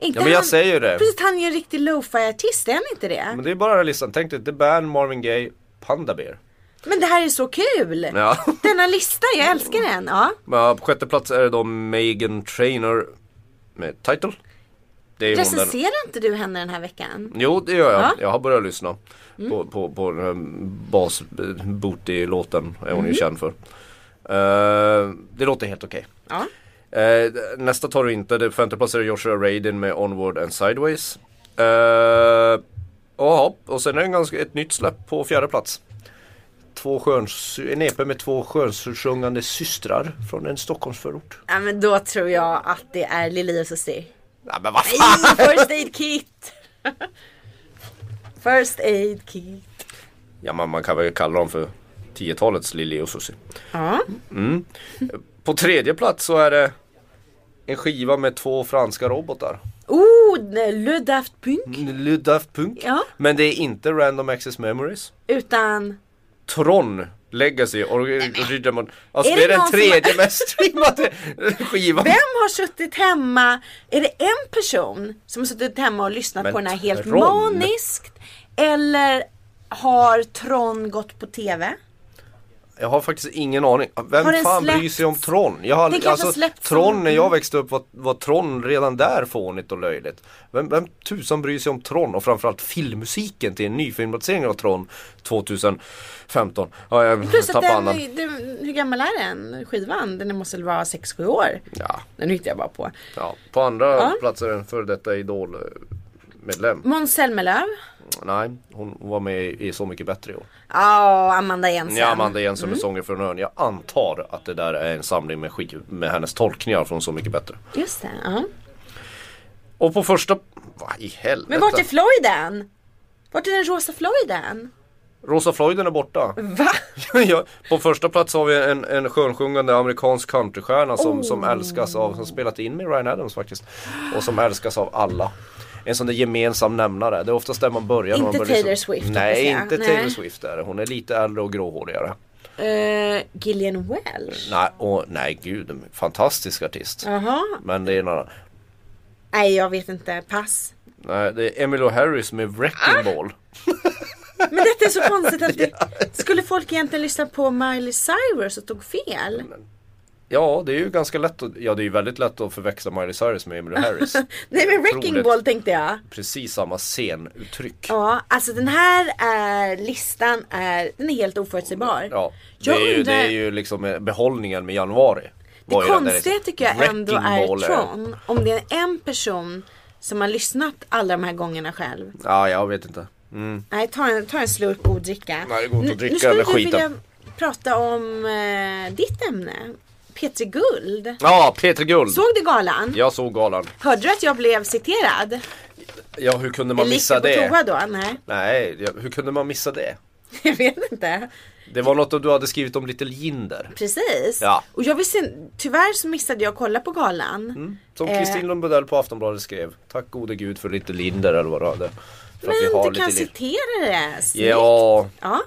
B: Inte
C: Ja men
B: han-
C: jag säger ju det.
B: Precis, han är ju en riktig lo-fi-artist, är han inte det?
C: Men
B: Men,
C: det är bara den här listan, tänk dig The Band, Marvin Gaye, Panda Bear.
B: det här är så kul!
C: Ja.
B: [LAUGHS] Denna lista, jag älskar den! Ja.
C: Ja, på sjätte plats är det då Megan Trainer med Title. Det är hon den.
B: Recenserar inte du henne den här veckan?
C: Jo, det gör jag.
B: Ja. Mm.
C: Jag har börjat lyssna på, på, på den här bas låten är
B: Mm.
C: hon ju känd för. Eh, det låter helt okej.
B: Ja.
C: Eh, nästa tar du inte. Det femte plats är Joshua Radin med Onward and Sideways. Eh, ja, och sen är det en ganska, ett nytt släpp på fjärde plats. Två sköns, en EP med två skönsjungande systrar från en Stockholmsförort.
B: Ja men då tror jag att det är Lili och Susie.
C: Nej men vad fan!
B: I [LAUGHS] First Aid Kit! First Aid Kit.
C: Ja, man, man kan väl kalla dem för 10-talets Lili och Susie.
B: Ja.
C: På tredje plats så är det en skiva med två franska robotar.
B: Oh, Le Daft Punk.
C: Le Daft Punk.
B: Ja.
C: Men det är inte Random Access Memories.
B: Utan...
C: Tron Legacy och Ryddermon. Alltså
B: Är
C: det är
B: det
C: den
B: någon som-
C: tredje mest streamade [LAUGHS] skivan.
B: Vem har suttit hemma? Är det en person som har suttit hemma och lyssnat
C: Men
B: på den här helt
C: Tron?
B: maniskt? Eller har Tron gått på TV?
C: Jag har faktiskt ingen aning. Vem
B: Har den
C: fan bryr
B: släppts?
C: sig om Tron? Jag har, alltså,
B: Den kanske har släppts
C: Tron
B: som- Mm.
C: när jag växte upp var, var Tron redan där fånigt och löjligt. Vem, vem tusan bryr sig om Tron och framförallt filmmusiken till en nyfilmatisering av Tron 2015. Ja, jag
B: Plus att
C: tappade
B: den,
C: andan.
B: den, hur gammal är den skivan? Den måste väl vara 6-7 år?
C: Ja,
B: Den hittade jag bara på.
C: ja. På andra
B: Ja.
C: plats är en före detta Idol-medlem.
B: Måns Zelmerlöw.
C: Nej, hon var med i Så Mycket Bättre i år.
B: Ja, Amanda Jensen.
C: Ja, Amanda Jensen
B: Mm.
C: med Sånger från ön. Jag antar att det där är en samling med, skiv- med hennes tolkningar från Så Mycket Bättre.
B: Just det, ja.
C: Och på första... Vad i helvete?
B: Men vart är Floyden? Vart är den rosa Floyden?
C: Rosa Floyden är borta. [LAUGHS]
B: Va?
C: ja, på första plats har vi en, en skönsjungande amerikansk countrystjärna som, som
B: Oh.
C: älskas av, som spelat in med Ryan Adams faktiskt. Och som älskas av alla. En sån där gemensam nämnare. Det är oftast där man börjar. när man
B: Inte
C: börjar lyssna.
B: Taylor Swift, hoppas
C: Nej,
B: jag.
C: inte
B: Nej.
C: Taylor Swift är det. Hon är lite äldre och gråhårigare.
B: Uh, Gillian Welsh?
C: Nej, och, nej gud, en fantastisk artist.
B: Jaha.
C: Men det är några...
B: Nej, jag vet inte. Pass.
C: Nej, det är Emmylou Harris med
B: Ah!
C: Wrecking Ball.
B: Men detta är så konstigt att
C: [LAUGHS]
B: det... Skulle folk egentligen lyssna på Miley Cyrus och tog fel?
C: Ja, det är ju ganska lätt att, ja det är ju väldigt lätt att förväxla Miley Cyrus med Emmylou Harris.
B: [LAUGHS] Nej men Wrecking
C: Otroligt.
B: Ball tänkte jag.
C: Precis samma scenuttryck.
B: Ja, alltså den här är, listan är, den är helt oförutsägbar.
C: Ja, det
B: Jag
C: är, ju,
B: undrar-
C: det är ju liksom eh, behållningen med januari.
B: Det
C: Var ju den där
B: konstiga
C: liksom,
B: tycker jag ändå
C: Wrecking
B: är
C: Ball
B: Tron. Om det är en person som har lyssnat alla de här gångerna själv.
C: Ja, jag vet inte. Mm.
B: Nej, ta en, ta en slurk god dricka.
C: Nej, det går inte
B: Nu-
C: att dricka
B: Nu skulle
C: den
B: du
C: skiten.
B: vilja prata om eh, ditt ämne. P3 Guld.
C: Ja, Peter Guld.
B: Såg du galan?
C: Jag såg galan.
B: Hörde du att jag blev citerad?
C: Ja, hur kunde man
B: Gick du
C: missa
B: på toa
C: det?
B: då? Nej, [LAUGHS]
C: Nej, ja, hur kunde man missa det?
B: jag vet inte.
C: Det var något du hade skrivit om Little Jinder.
B: Precis.
C: Ja.
B: Och jag visste tyvärr så missade jag att kolla på galan.
C: Som
B: Eh.
C: Kristin Lundbodell på Aftonbladet skrev. Tack gode gud för Little Jinder eller vad du hade. För att vi
B: Men
C: har
B: du kan
C: Little Jinder.
B: citera det. Snyggt.
C: Ja,
B: ja.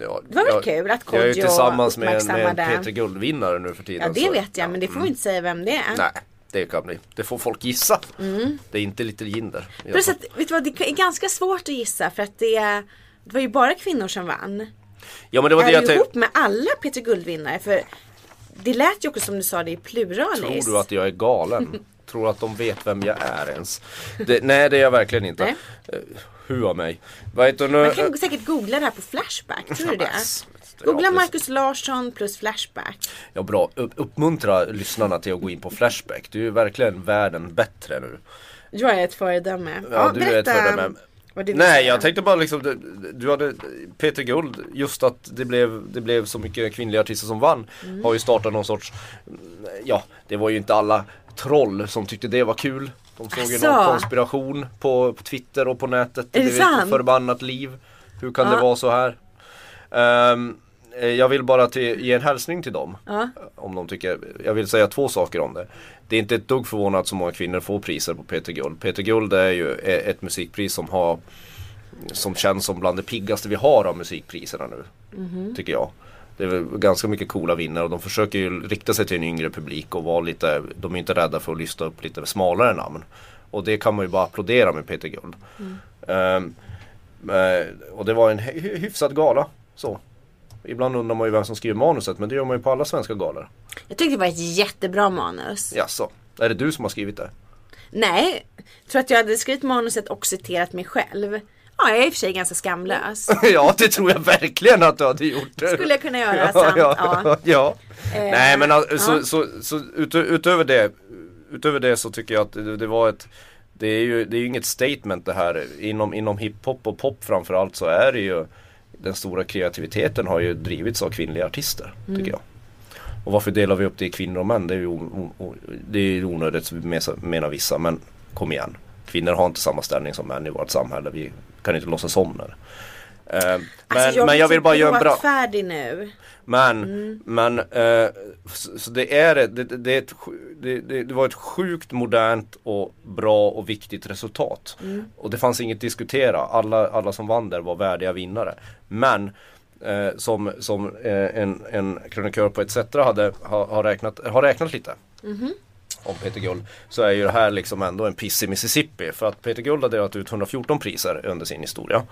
C: ja,
B: var väl
C: jag-
B: kul att
C: Jag är ju
B: Kodjo
C: tillsammans med en, med en
B: uppmärksammade-
C: Peter Guld-vinnare nu för tiden.
B: Ja det
C: så-
B: vet jag men det får vi inte säga vem det är.
C: Nej, det kan bli. Det får folk gissa.
B: Mm.
C: Det är inte Little Jinder. Jag
B: Plus
C: tror-
B: att, vet du vad, det är ganska svårt att gissa för att det, det var ju bara kvinnor som vann.
C: Ja men det var det
B: är
C: jag
B: du ihop
C: tänkte.
B: med alla Peter Guld-vinnare? För det lät ju också som du sa det i pluralis.
C: Tror du att jag
B: [LAUGHS]
C: är galen? Tror att de vet vem jag är ens? Det, nej det är jag verkligen inte.
B: Nej.
C: Eh, Hu av mig. Vad heter nu?
B: Man kan säkert googla det här på Flashback, tror du det? Googla
C: Googla
B: Marcus Larsson plus Flashback.
C: Ja bra, Upp- uppmuntra lyssnarna till att gå in på Flashback. Du är ju verkligen världen bättre nu.
B: Jag är ett föredöme. Ja,
C: du är ett föredöme.
B: vad du vill
C: Nej
B: säga.
C: jag tänkte bara liksom, du, du hade Peter Guld, just att det blev, det blev så mycket kvinnliga artister som vann
B: Mm.
C: Har ju startat någon sorts, ja det var ju inte alla troll som tyckte det var kul De såg ju någon
B: Asså.
C: konspiration på, på Twitter och på nätet
B: Är det
C: blev ett
B: sant?
C: förbannat liv Hur kan
B: Ja.
C: det vara så här? Ehm, eh, jag vill bara till, ge en hälsning till dem
B: Ja.
C: om de tycker, jag vill säga två saker om det. Det är inte ett dugg förvånande att så många kvinnor får priser på Peter Guld. Peter Guld är ju e- ett musikpris som har som känns som bland det piggaste vi har av musikpriserna nu.
B: Mhm.
C: Tycker jag. Det är väl ganska mycket coola vinnare och de försöker ju rikta sig till en yngre publik och vara lite, de är inte rädda för att lyfta upp lite smalare namn. Och det kan man ju bara applådera med Peter Guld.
B: Mm.
C: Ehm, Eh, och det var en hy- hyfsad gala. Så. Ibland undrar man ju vem som skriver manuset men det gör man ju på alla svenska galor.
B: Jag tyckte det var ett jättebra manus.
C: Jaså, är det du som har skrivit det? [LAUGHS]
B: Nej, tror att jag hade skrivit manuset och citerat mig själv. Ja, jag är i och för sig ganska skamlös.
C: ja, det tror jag verkligen att du hade gjort.
B: Skulle jag kunna göra sant,
C: ja.
B: ja.
C: [LAUGHS]
B: Eh,
C: ja. Nej men alltså,
B: ja.
C: så, så, så utö- utöver det Utöver det så tycker jag att det, det var ett Det är ju det är ju inget statement det här Inom, inom hiphop och pop framförallt så är det ju Den stora kreativiteten har ju drivits av kvinnliga artister
B: Mm.
C: tycker jag Och varför delar vi upp det i kvinnor och män? Det är ju, o- o- det är ju onödigt mes- menar vissa men kom igen Kvinnor har inte samma ställning som män i vårt samhälle Vi kan inte låtsas om det Eh, men,
B: Alltså,
C: men
B: blir
C: jag vill
B: så
C: bara göra en bra
B: gråtfärdig nu.
C: men, men eh, så, så det är det, det, det, är ett, sj- det, det, det var ett sjukt modernt och bra och viktigt resultat. Och det fanns inget att diskutera. Alla, alla som vann där var värdiga vinnare. Men eh, som, som eh, en, en krönikör på ETC hade, har, har, räknat, har räknat lite om Peter Guld så är ju det här liksom ändå en piss i Mississippi för att Peter Guld har delat ut 114 priser under sin historia.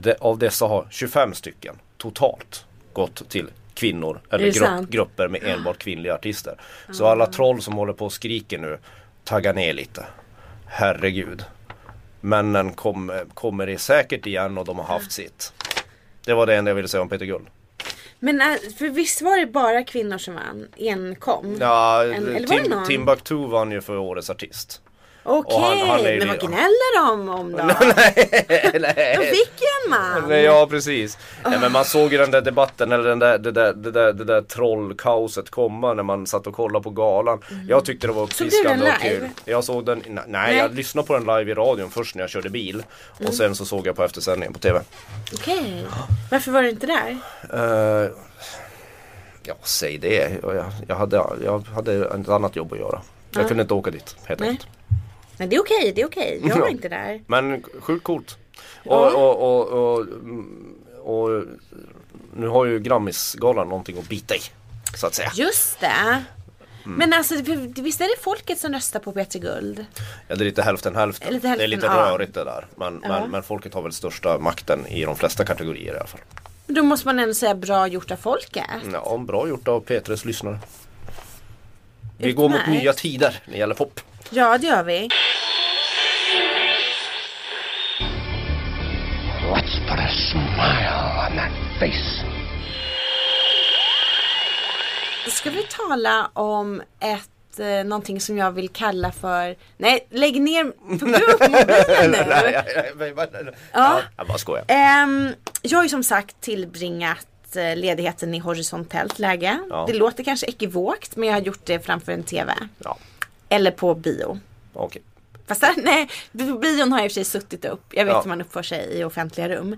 C: De, av dessa har 25 stycken totalt gått till kvinnor eller
B: Är det
C: grupp,
B: sant? Ah.
C: grupper med enbart kvinnliga artister. Så alla troll som håller på och skriker nu, tagga ner lite. Herregud. Männen kom, kommer det säkert igen och de har
B: Ah.
C: haft sitt. Det var det enda jag ville säga om Peter Guld.
B: Men äh, för visst var det bara kvinnor som vann? Enkom?
C: Ja,
B: En- eller var det
C: Tim,
B: någon?
C: Timbuktu vann ju för årets [LAUGHS] artist.
B: Okej,
C: och han- han är ju-
B: men vad gnäller de om
C: [LAUGHS]
B: då?
C: Eller-
B: De fick ju en man!
C: Nej, ja precis. Nej, men man såg ju den där debatten eller den där, det, där, det, där, det där trollkaoset komma när man satt och kollade på galan. Jag tyckte det var
B: Mm. du
C: uppfriskande
B: den
C: och kul.
B: live?
C: Jag såg den, nej, nej jag lyssnade på den live i radion först när jag körde bil.
B: Mm.
C: Och sen så såg jag på eftersändningen på TV.
B: Okej, varför var du inte där?
C: Eh, ja säg det, jag, jag, hade, jag hade ett annat jobb att göra. Jag kunde inte åka dit helt
B: Nej.
C: enkelt.
B: Nej det är okej, det är okej. Jag var
C: Ja.
B: inte där.
C: Men sjukt coolt. Och,
B: Ja.
C: och, och, och, mm, och nu har ju Grammisgalan någonting att bita i. Så att säga.
B: Just det. Men alltså det- visst är det folket som röstar på Peter Guld?
C: Ja, det är lite hälften hälften.
B: Lite
C: det är
B: hälften,
C: lite
B: ja.
C: rörigt det där. Men,
B: Ja.
C: men, men folket har väl största makten i de flesta kategorier i alla fall.
B: Men Då måste man ändå säga bra gjort av folket.
C: Ja, bra gjort av Petres lyssnare. Vi går mot
B: Utmärkt.
C: nya tider när det
B: [LAUGHS]
C: gäller pop.
B: Ja det gör vi.
D: Let's put a smile on that face.
B: Då ska vi tala om ett eh, Någonting som jag vill kalla för Nej lägg ner, tog du upp mobilen nu?
C: [LAUGHS] Nej, nej, nej, nej, nej.
B: Ja.
C: Jag bara skojar.
B: Ehm, jag har ju som sagt tillbringat kallat eh, ledigheten i horisontellt läge.
C: Ja.
B: Det låter kanske ekivokt men jag har gjort det framför en TV.
C: Ja,
B: Eller på bio.
C: okej.
B: Fast där, nej, på bion har jag i och för sig suttit upp. Jag vet
C: Ja.
B: hur man uppför sig i offentliga rum.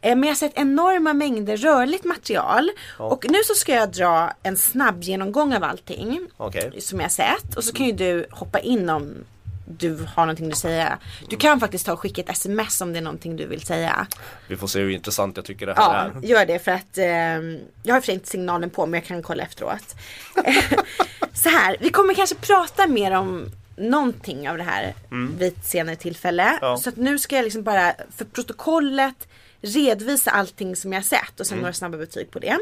B: Eh, Men jag har sett enorma mängder rörligt material. Och nu så ska jag dra en snabb genomgång av allting.
C: Okej.
B: Som jag har sett. Och så kan ju du hoppa in om du har någonting du säga. Du kan faktiskt ta och skicka ett sms om det är någonting du vill säga.
C: Vi får se hur intressant jag tycker det här
B: Ja,
C: är.
B: gör det för att eh, jag har i och för sig inte signalen på men jag kan kolla efteråt. [LAUGHS] så här, vi kommer kanske prata mer om någonting av det här vid ett senare tillfälle.
C: Mm. Ja.
B: Så att nu ska jag liksom bara för protokollet redovisa allting som jag sett
C: Mm.
B: och sen några snabba betyg på det.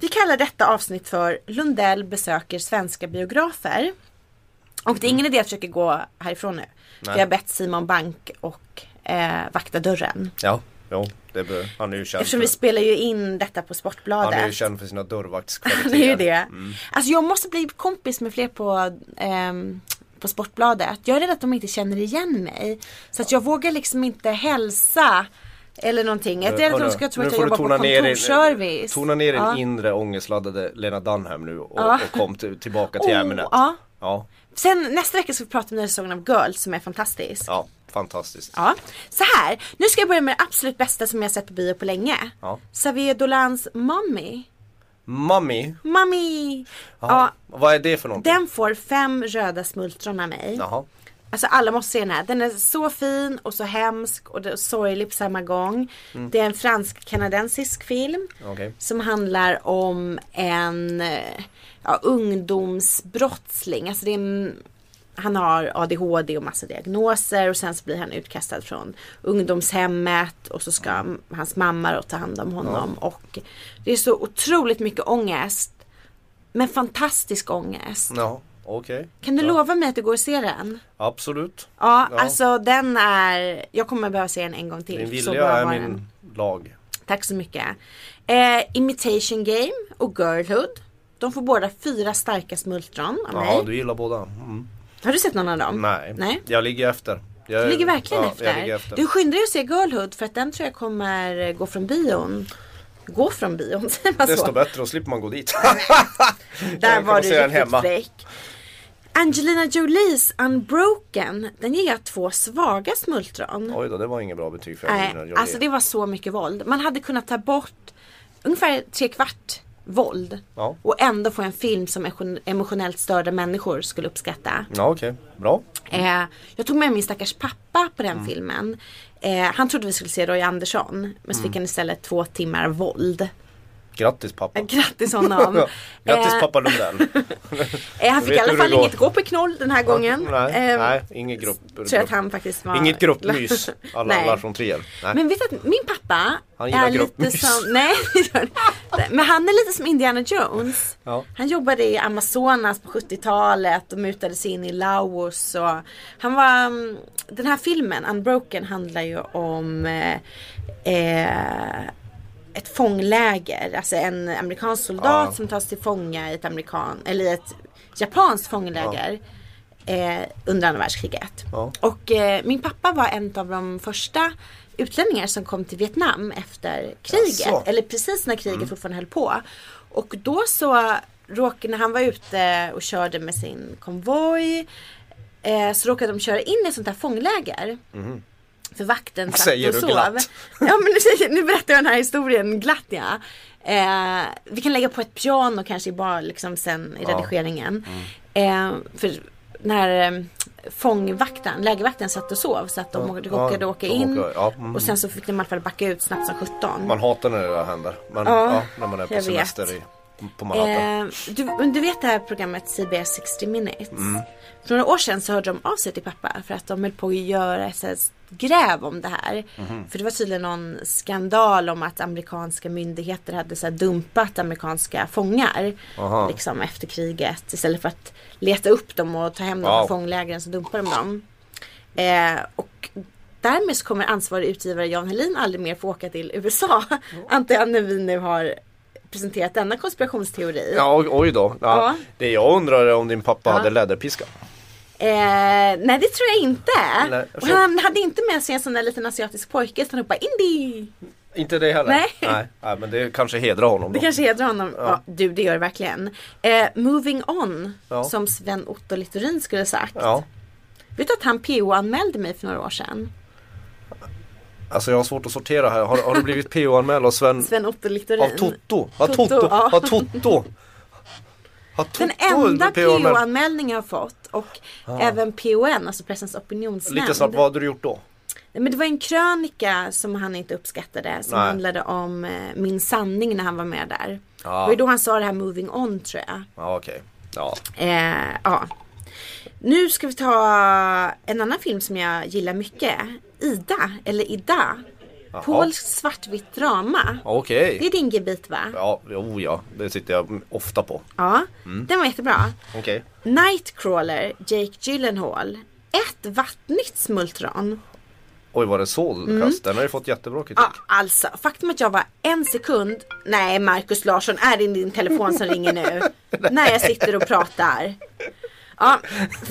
B: Vi kallar detta avsnitt för Lundell besöker svenska biografer. Och det är
C: Mm.
B: ingen idé att försöka gå härifrån nu. För jag har bett Simon Bank och eh, vakta dörren.
C: Ja, jo, det bör, han är ju känd
B: Eftersom
C: för,
B: vi spelar ju in detta på
C: han
B: Sportbladet.
C: är
B: [LAUGHS]
C: ju känd för sina dörrvaktskvaliteter.
B: det är ju det.
C: Mm.
B: Alltså jag måste bli kompis med fler på, ehm, på Sportbladet. Jag är rädd att de inte känner igen mig. Så att jag vågar liksom inte hälsa. Eller någonting. Jag är rädd att de ska tro att jag jobbar på kontorsservice.
C: Tona ner din
B: Ja.
C: inre ångestladdade Lena Dunham nu och, och kom till, tillbaka till
B: Oh,
C: ämnet.
B: ja.
C: ja,
B: Sen nästa vecka ska vi prata om den här säsongen av Girls som är fantastisk.
C: ja, fantastiskt.
B: Ja, så här. Nu ska jag börja med det absolut bästa som jag sett på bio på länge.
C: Ja.
B: Xavier Dolans Mommy.
C: Mummy,
B: Mommy!
C: ja.
B: Ja,
C: vad är det för någonting?
B: Den får fem röda smultron av mig.
C: Jaha.
B: Alltså alla måste se den här. Den är så fin och så hemsk och det- och sorglig på samma gång. Det är en fransk-kanadensisk film.
C: Okej.
B: Som handlar om en eh, ja, ungdomsbrottsling. Alltså det är en, han har ADHD och massa diagnoser och sen så blir han utkastad från ungdomshemmet och så ska m- hans mamma då ta hand om honom. Och det är så otroligt mycket ångest. Men fantastisk ångest.
C: Ja, okej.
B: Kan du
C: ja.
B: lova mig att du går och ser den?
C: Absolut.
B: Ja,
C: Ja.
B: alltså den är, jag kommer behöva se den en gång till.
C: Din
B: så
C: vilja
B: bra
C: är
B: var
C: min
B: den.
C: lag.
B: Tack så mycket. Eh, Imitation Game och Girlhood. De får båda fyra starka smultron av
C: Jaha,
B: mig.
C: du gillar båda. Mm.
B: Har du sett någon av dem?
C: Nej.
B: Nej.
C: jag ligger efter. Jag,
B: Du ligger verkligen
C: ja, Jag
B: efter.
C: ligger efter.
B: Du skyndar dig att se Girlhood för att den tror jag kommer gå från bion. Gå från bion, [LAUGHS] säger man
C: Desto
B: så?
C: bättre, då slipper man
B: [LAUGHS]
C: gå dit.
B: Där
C: Jag kommer
B: var du
C: se den
B: riktigt
C: hemma.
B: fräck. Angelina Jolies Unbroken, den ger jag två svaga smultron.
C: Oj då, det var inget bra betyg för Angelina
B: Nej,
C: Jolie.
B: alltså det var så mycket våld. Man hade kunnat ta bort ungefär tre kvart våld
C: Ja.
B: och ändå få en film som emotion- emotionellt störda människor skulle uppskatta.
C: Ja, okej. Bra.
B: Eh, jag tog med min stackars pappa på den
C: Mm.
B: filmen. Eh, han trodde vi skulle se Roy Andersson men så fick
C: Mm.
B: han istället två timmar våld.
C: Grattis pappa.
B: Eh, Grattis honom.
C: [LAUGHS] Ja. Grattis
B: Eh,
C: pappa Lundell.
B: Eh, han fick i
C: Vet
B: alla
C: hur det
B: fall
C: går.
B: inget gå på knoll den här [LAUGHS] gången.
C: Nej,
B: Eh,
C: nej inget grupp.
B: Tror jag
C: grupp.
B: att han faktiskt var...
C: Inget gruppmys.
B: [LAUGHS]
C: Alla,
B: Nej.
C: alla från Trier. Nej.
B: Men vet du att min pappa
C: Han gillar
B: är lite
C: gruppmys.
B: som, nej [LAUGHS] det gör han inte. Men han är lite som Indiana Jones.
C: Ja.
B: Han jobbade i Amazonas på 70-talet och mutade sig in i Laos och han var, mm, den här filmen Unbroken handlar ju om eh, eh, ett fångläger, alltså en amerikansk soldat
C: Ja.
B: som tas till fånga i ett amerikan, eller i ett japanskt fångläger eh, under andra världskriget.
C: Ja.
B: Och eh, min pappa var en av de första utlänningar som kom till Vietnam efter kriget.
C: Jaså? Mm.
B: Eller precis när kriget fortfarande höll på. Och då så råkade, när han var ute och körde med sin konvoj. Eh, så råkade de köra in i ett sånt här fångläger. För vakten satt
C: Mm. Säger
B: och
C: du
B: sov.
C: glatt.
B: Ja men nu, säger- nu berättar jag den här historien glatt ja. Eh, vi kan lägga på ett piano kanske bara liksom sen i
C: Ja. Mm.
B: redigeringen. Eh, för när eh, fångvakten, lägervakten satt och sov så att de
C: Ja,
B: råkade åka
C: de
B: in.
C: åker- ja, mm.
B: Och sen så fick de i alla fall backa ut snabbt som sjutton.
C: Man hatar när det där händer. Men, ja.
B: Ja,
C: när man är på
B: jag
C: semester
B: vet.
C: i, på Manhattan.
B: Eh, du, men du vet det här programmet CBS 60 minutes?
C: Mm.
B: För några år sedan så hörde de av sig till pappa för att de höll på att göra ett sånt här gräv om det här.
C: Mhm.
B: För det var tydligen någon skandal om att amerikanska myndigheter hade så här dumpat amerikanska fångar.
C: Aha.
B: Liksom efter kriget. Istället för att leta upp dem och ta hem dem
C: Wow.
B: från fånglägren så dumpade de dem. Eh, och därmed så kommer ansvarig utgivare Jan Helin aldrig mer få åka till USA. Antar jag när vi nu har presenterat denna konspirationsteori.
C: Ja, oj- oj då. Ja.
B: Ja.
C: Det jag undrar är om din pappa
B: Ja.
C: hade läderpiska.
B: Eh, nej det tror jag inte.
C: Nej, alltså-
B: och han hade inte med sig en sån där liten asiatisk pojke utan han bara Indie.
C: Inte det heller?
B: Nej.
C: Nej, Nej, men det kanske hedrar honom
B: Det
C: då.
B: kanske hedrar honom. Ja. du, det gör det verkligen. Eh, moving on,
C: Ja.
B: som Sven Otto Littorin skulle ha sagt.
C: Ja.
B: Vet du att han PO-anmälde mig för några år sedan?
C: Alltså jag har svårt att sortera här. Har, har du blivit PO-anmäld av Sven?
B: Sven Otto Littorin.
C: Av Toto? Av
B: Toto,
C: Toto?
B: ja.
C: Av Toto? Har Toto
B: Den enda
C: PO-anmäld?
B: PO-anmälning jag har fått och även PON, alltså Pressens opinionsnämnd.
C: Lite snabbt, vad hade du gjort då?
B: Nej, Men det var en krönika som han inte uppskattade som
C: Nej.
B: handlade om eh, min sanning när han var med där.
C: Ja.
B: Det var ju då han sa det här moving on tror jag.
C: Ja okej. Ja.
B: Eh, ja. Nu ska vi ta en annan film som jag gillar mycket. Ida, eller Ida. Polsk svartvitt drama.
C: Okej.
B: Det är din gebit va? Ja.
C: Ja, oh ja. Det sitter jag ofta på. Mm.
B: Den var jättebra.
C: Okej.
B: Nightcrawler, Jake Gyllenhaal. Ett vattnigt smultron.
C: Oj var det så
B: Mm.
C: kast? Den har ju fått jättebra kritik.
B: Ja, alltså faktum att jag var en sekund. Nej, Markus Larsson, är det din telefon som ringer
C: [LAUGHS]
B: nu? när jag sitter och pratar. Ja,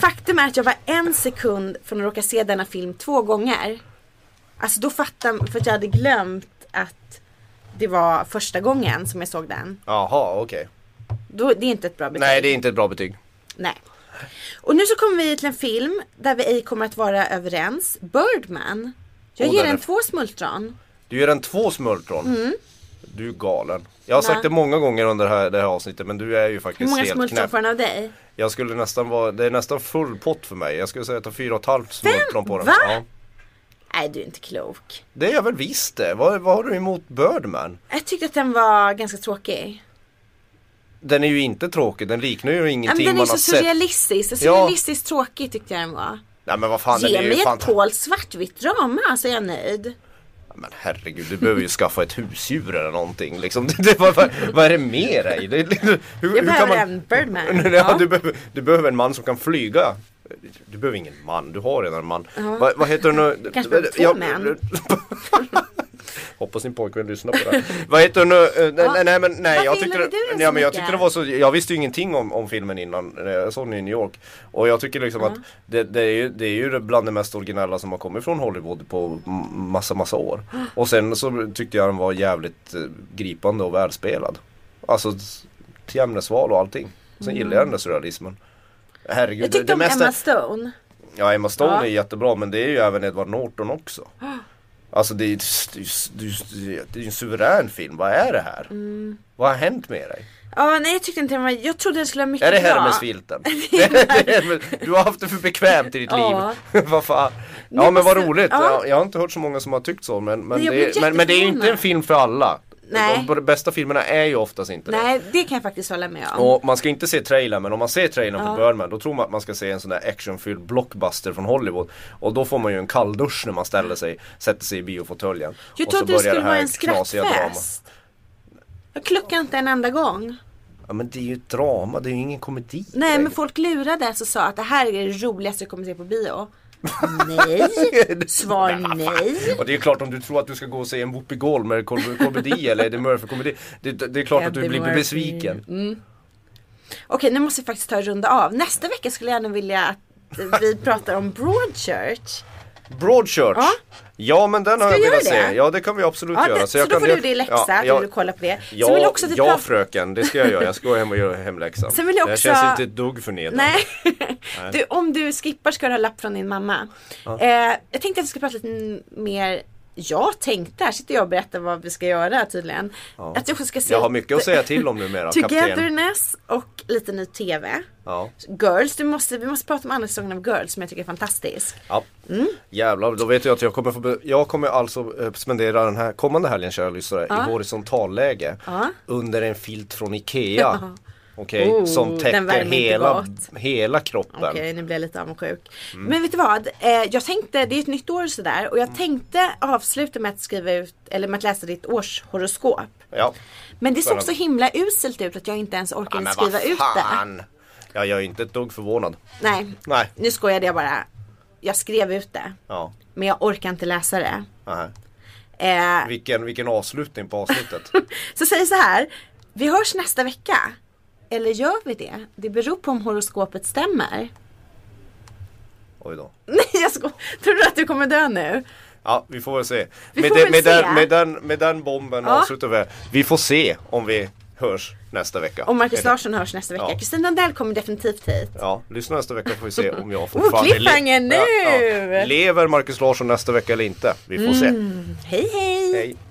B: faktum är att jag var en sekund från att råka se denna film två gånger. Alltså då fattade jag, för att jag hade glömt att det var första gången som jag såg den.
C: Jaha okej.
B: Då, det är inte ett bra betyg.
C: Nej det är inte ett bra betyg.
B: Nej. Och nu så kommer vi till en film där vi ej kommer att vara överens. Birdman. Jag
C: Åh,
B: ger
C: den
B: den
C: är-
B: två smultron.
C: Du ger den två smultron. Du är galen. Jag har sagt
B: Mm. Nej.
C: det många gånger under det här, det här avsnittet men du är ju
B: Hur
C: faktiskt
B: många
C: helt
B: smultron
C: knäpp.
B: får den av dig?
C: Jag skulle nästan vara, det är nästan full pott för mig. Jag skulle säga att jag tar fyra och ett halvt smultron på den.
B: Va?
C: Ja.
B: Nej, du är inte klok.
C: Det är jag väl visst det. Vad, vad har du emot Birdman?
B: Jag tyckte att den var ganska tråkig.
C: Den är ju inte tråkig, den liknar ju
B: Ja, men
C: ingenting
B: den är
C: man
B: så
C: har sett.
B: surrealistisk. Så
C: Ja.
B: surrealistiskt tråkig tyckte jag den var.
C: Nej men vad fan,
B: Ge
C: den är ju
B: mig ett
C: fantastisk.
B: polskt svartvitt drama så är jag nöjd.
C: Men herregud, du behöver ju skaffa ett husdjur eller någonting liksom. [LAUGHS] Det, det, vad, vad, vad är det med dig? Det, det, hur, hur
B: Jag behöver
C: kan man...
B: en
C: [LAUGHS]
B: Birdman.
C: Ja,
B: Ja.
C: du, behöver, du behöver en man som kan flyga. Du behöver ingen man, du har redan en man. Va, vad heter den nu?
B: [LAUGHS] Kanske behöver två
C: Jag-
B: män.
C: [LAUGHS] Hoppas din pojkvän lyssnar på det här. Vad heter den nu? Eh, Nej,
B: Ja.
C: nej, nej men nej.
B: Varför
C: Jag tyckte,
B: gillade du den
C: ja,
B: så
C: men jag
B: mycket?
C: tyckte det var så, jag visste ju ingenting om, om filmen innan. eh, Jag såg den i New York. Och jag tycker liksom att det, det, är ju, det är ju bland det mest originella som har kommit från Hollywood på m- massa, massa
B: [GASPS]
C: år. Och sen så tyckte jag den var jävligt eh, gripande och välspelad. Alltså till ämnesval och allting. Sen gillade jag den där surrealismen. Herregud,
B: Mm. Jag tyckte om
C: mesta-
B: Emma Stone.
C: Ja, Emma Stone
B: Ja.
C: är jättebra men det är ju även Edward Norton också. Alltså det är ju det är ju- det är ju en suverän film, vad är det här?
B: Mm.
C: Vad har hänt med dig?
B: Ja, nej jag tyckte inte den var, jag trodde den skulle vara mycket
C: Är det
B: bra. [LAUGHS]
C: Hermesfilten? [LAUGHS] Det är- det är- du har haft det för bekvämt i ditt
B: Ja.
C: liv. [LAUGHS] vad fan. Ja
B: Nej,
C: men vad
B: alltså,
C: roligt.
B: ja.
C: Ja. Jag har inte hört så många som har tyckt så men, men,
B: Nej, jag
C: det, är,
B: blir
C: men, men det är ju inte en
B: jätteförvånad.
C: film för alla.
B: Nej.
C: De bästa filmerna är ju oftast inte det.
B: Nej, det kan jag faktiskt hålla med om.
C: Och man ska inte se trailern men om man ser trailern på Birdman då tror man att man ska se en sån där actionfylld blockbuster från Hollywood. Och då får man ju en kalldusch när man ställer sig, sätter sig i biofåtöljen.
B: Jag
C: Och så
B: trodde det
C: börjar
B: skulle
C: här
B: vara en
C: knasiga
B: skrattfest. Jag kluckade inte en enda gång.
C: drama. Ja men det är ju ett drama, det är ju ingen komedi.
B: Nej men folk lurades och sa att det här är det roligaste jag kommer se på
C: [LAUGHS]
B: bio. Nej, svar nej.
C: Och det är klart om du tror att du ska gå och se en Whoopi Goldberg kom-
B: [LAUGHS]
C: komedi eller Eddie Murphy komedi. Det, det det är klart att du
B: Eddie
C: blir
B: Murphy. Mm.
C: besviken.
B: Okej nu måste vi faktiskt ta en runda av. Nästa vecka skulle jag gärna vilja att vi pratar om Broadchurch.
C: Broadchurch. Ja.
B: Ja.
C: men den har
B: Ska
C: jag
B: vi göra
C: velat se.
B: det?
C: Ja det kan vi absolut
B: Ja,
C: göra.
B: det, så
C: jag
B: då
C: kan
B: får du det i läxa,
C: Ja,
B: att du
C: jag-
B: vill kolla på det. Sen
C: Ja,
B: vill jag också att vi
C: ja
B: pratar-
C: fröken, det ska jag göra. Jag ska gå hem och göra hemläxan.
B: Sen vill jag
C: Det här
B: också-
C: känns inte ett dugg förnedrande.
B: Nej, du, om du skippar ska du ha lapp från din mamma. Eh, jag tänkte att vi ska prata lite mer jag tänkte, här sitter jag och berättar vad vi ska göra tydligen. Att jag ska se
C: Jag har mycket att säga till om numera, kapten.
B: Togetherness och lite ny TV.
C: Ja,
B: Girls, du måste, vi måste prata om andra säsongen av Girls som jag tycker är fantastisk.
C: ja. Jävlar, då vet jag att jag kommer, få be- jag kommer alltså eh, spendera den här kommande helgen kära lyssnare i horisontalläge
B: Ja.
C: under en filt från Ikea. Okej,
B: Oh,
C: som
B: den
C: täcker
B: värmer inte
C: hela,
B: gott.
C: hela kroppen.
B: Okej, nu blir jag lite avundsjuk. Men vet du vad? Eh, jag tänkte, det är ett nytt år och sådär och jag tänkte avsluta med att skriva ut, eller med att läsa ditt årshoroskop.
C: Ja.
B: Men det såg
C: Spännande.
B: så himla uselt ut att jag inte ens orkade
C: men
B: skriva ut det.
C: fan! Ja, jag är inte ett dugg förvånad.
B: Nej,
C: Nej.
B: nu skojade jag bara. Jag skrev ut det.
C: Ja.
B: Men jag orkar inte läsa det.
C: Nej.
B: Eh,
C: Vilken, vilken avslutning
B: [LAUGHS]
C: på avsnittet.
B: Så säg så här. Vi hörs nästa vecka. Eller gör vi det? Det beror på om horoskopet stämmer. [LAUGHS]
C: Oj då.
B: Nej jag sko- Tror du att du kommer dö nu?
C: Ja, vi får väl se.
B: Vi
C: med,
B: får
C: det-
B: väl
C: med,
B: se.
C: Den, med, den, med den bomben
B: Ja.
C: avslutar vi. Vi får se om vi hörs nästa vecka.
B: Och Marcus Larsson hörs nästa vecka.
C: Ja.
B: Kristin Lundell kommer definitivt hit.
C: Ja, lyssna nästa vecka får vi se om
B: [LAUGHS]
C: jag
B: Oh,
C: fortfarande
B: cliffhanger nu! Mm.
C: Lever Marcus Larsson nästa vecka eller inte? Vi får se.
B: Hej hej!
C: Hej!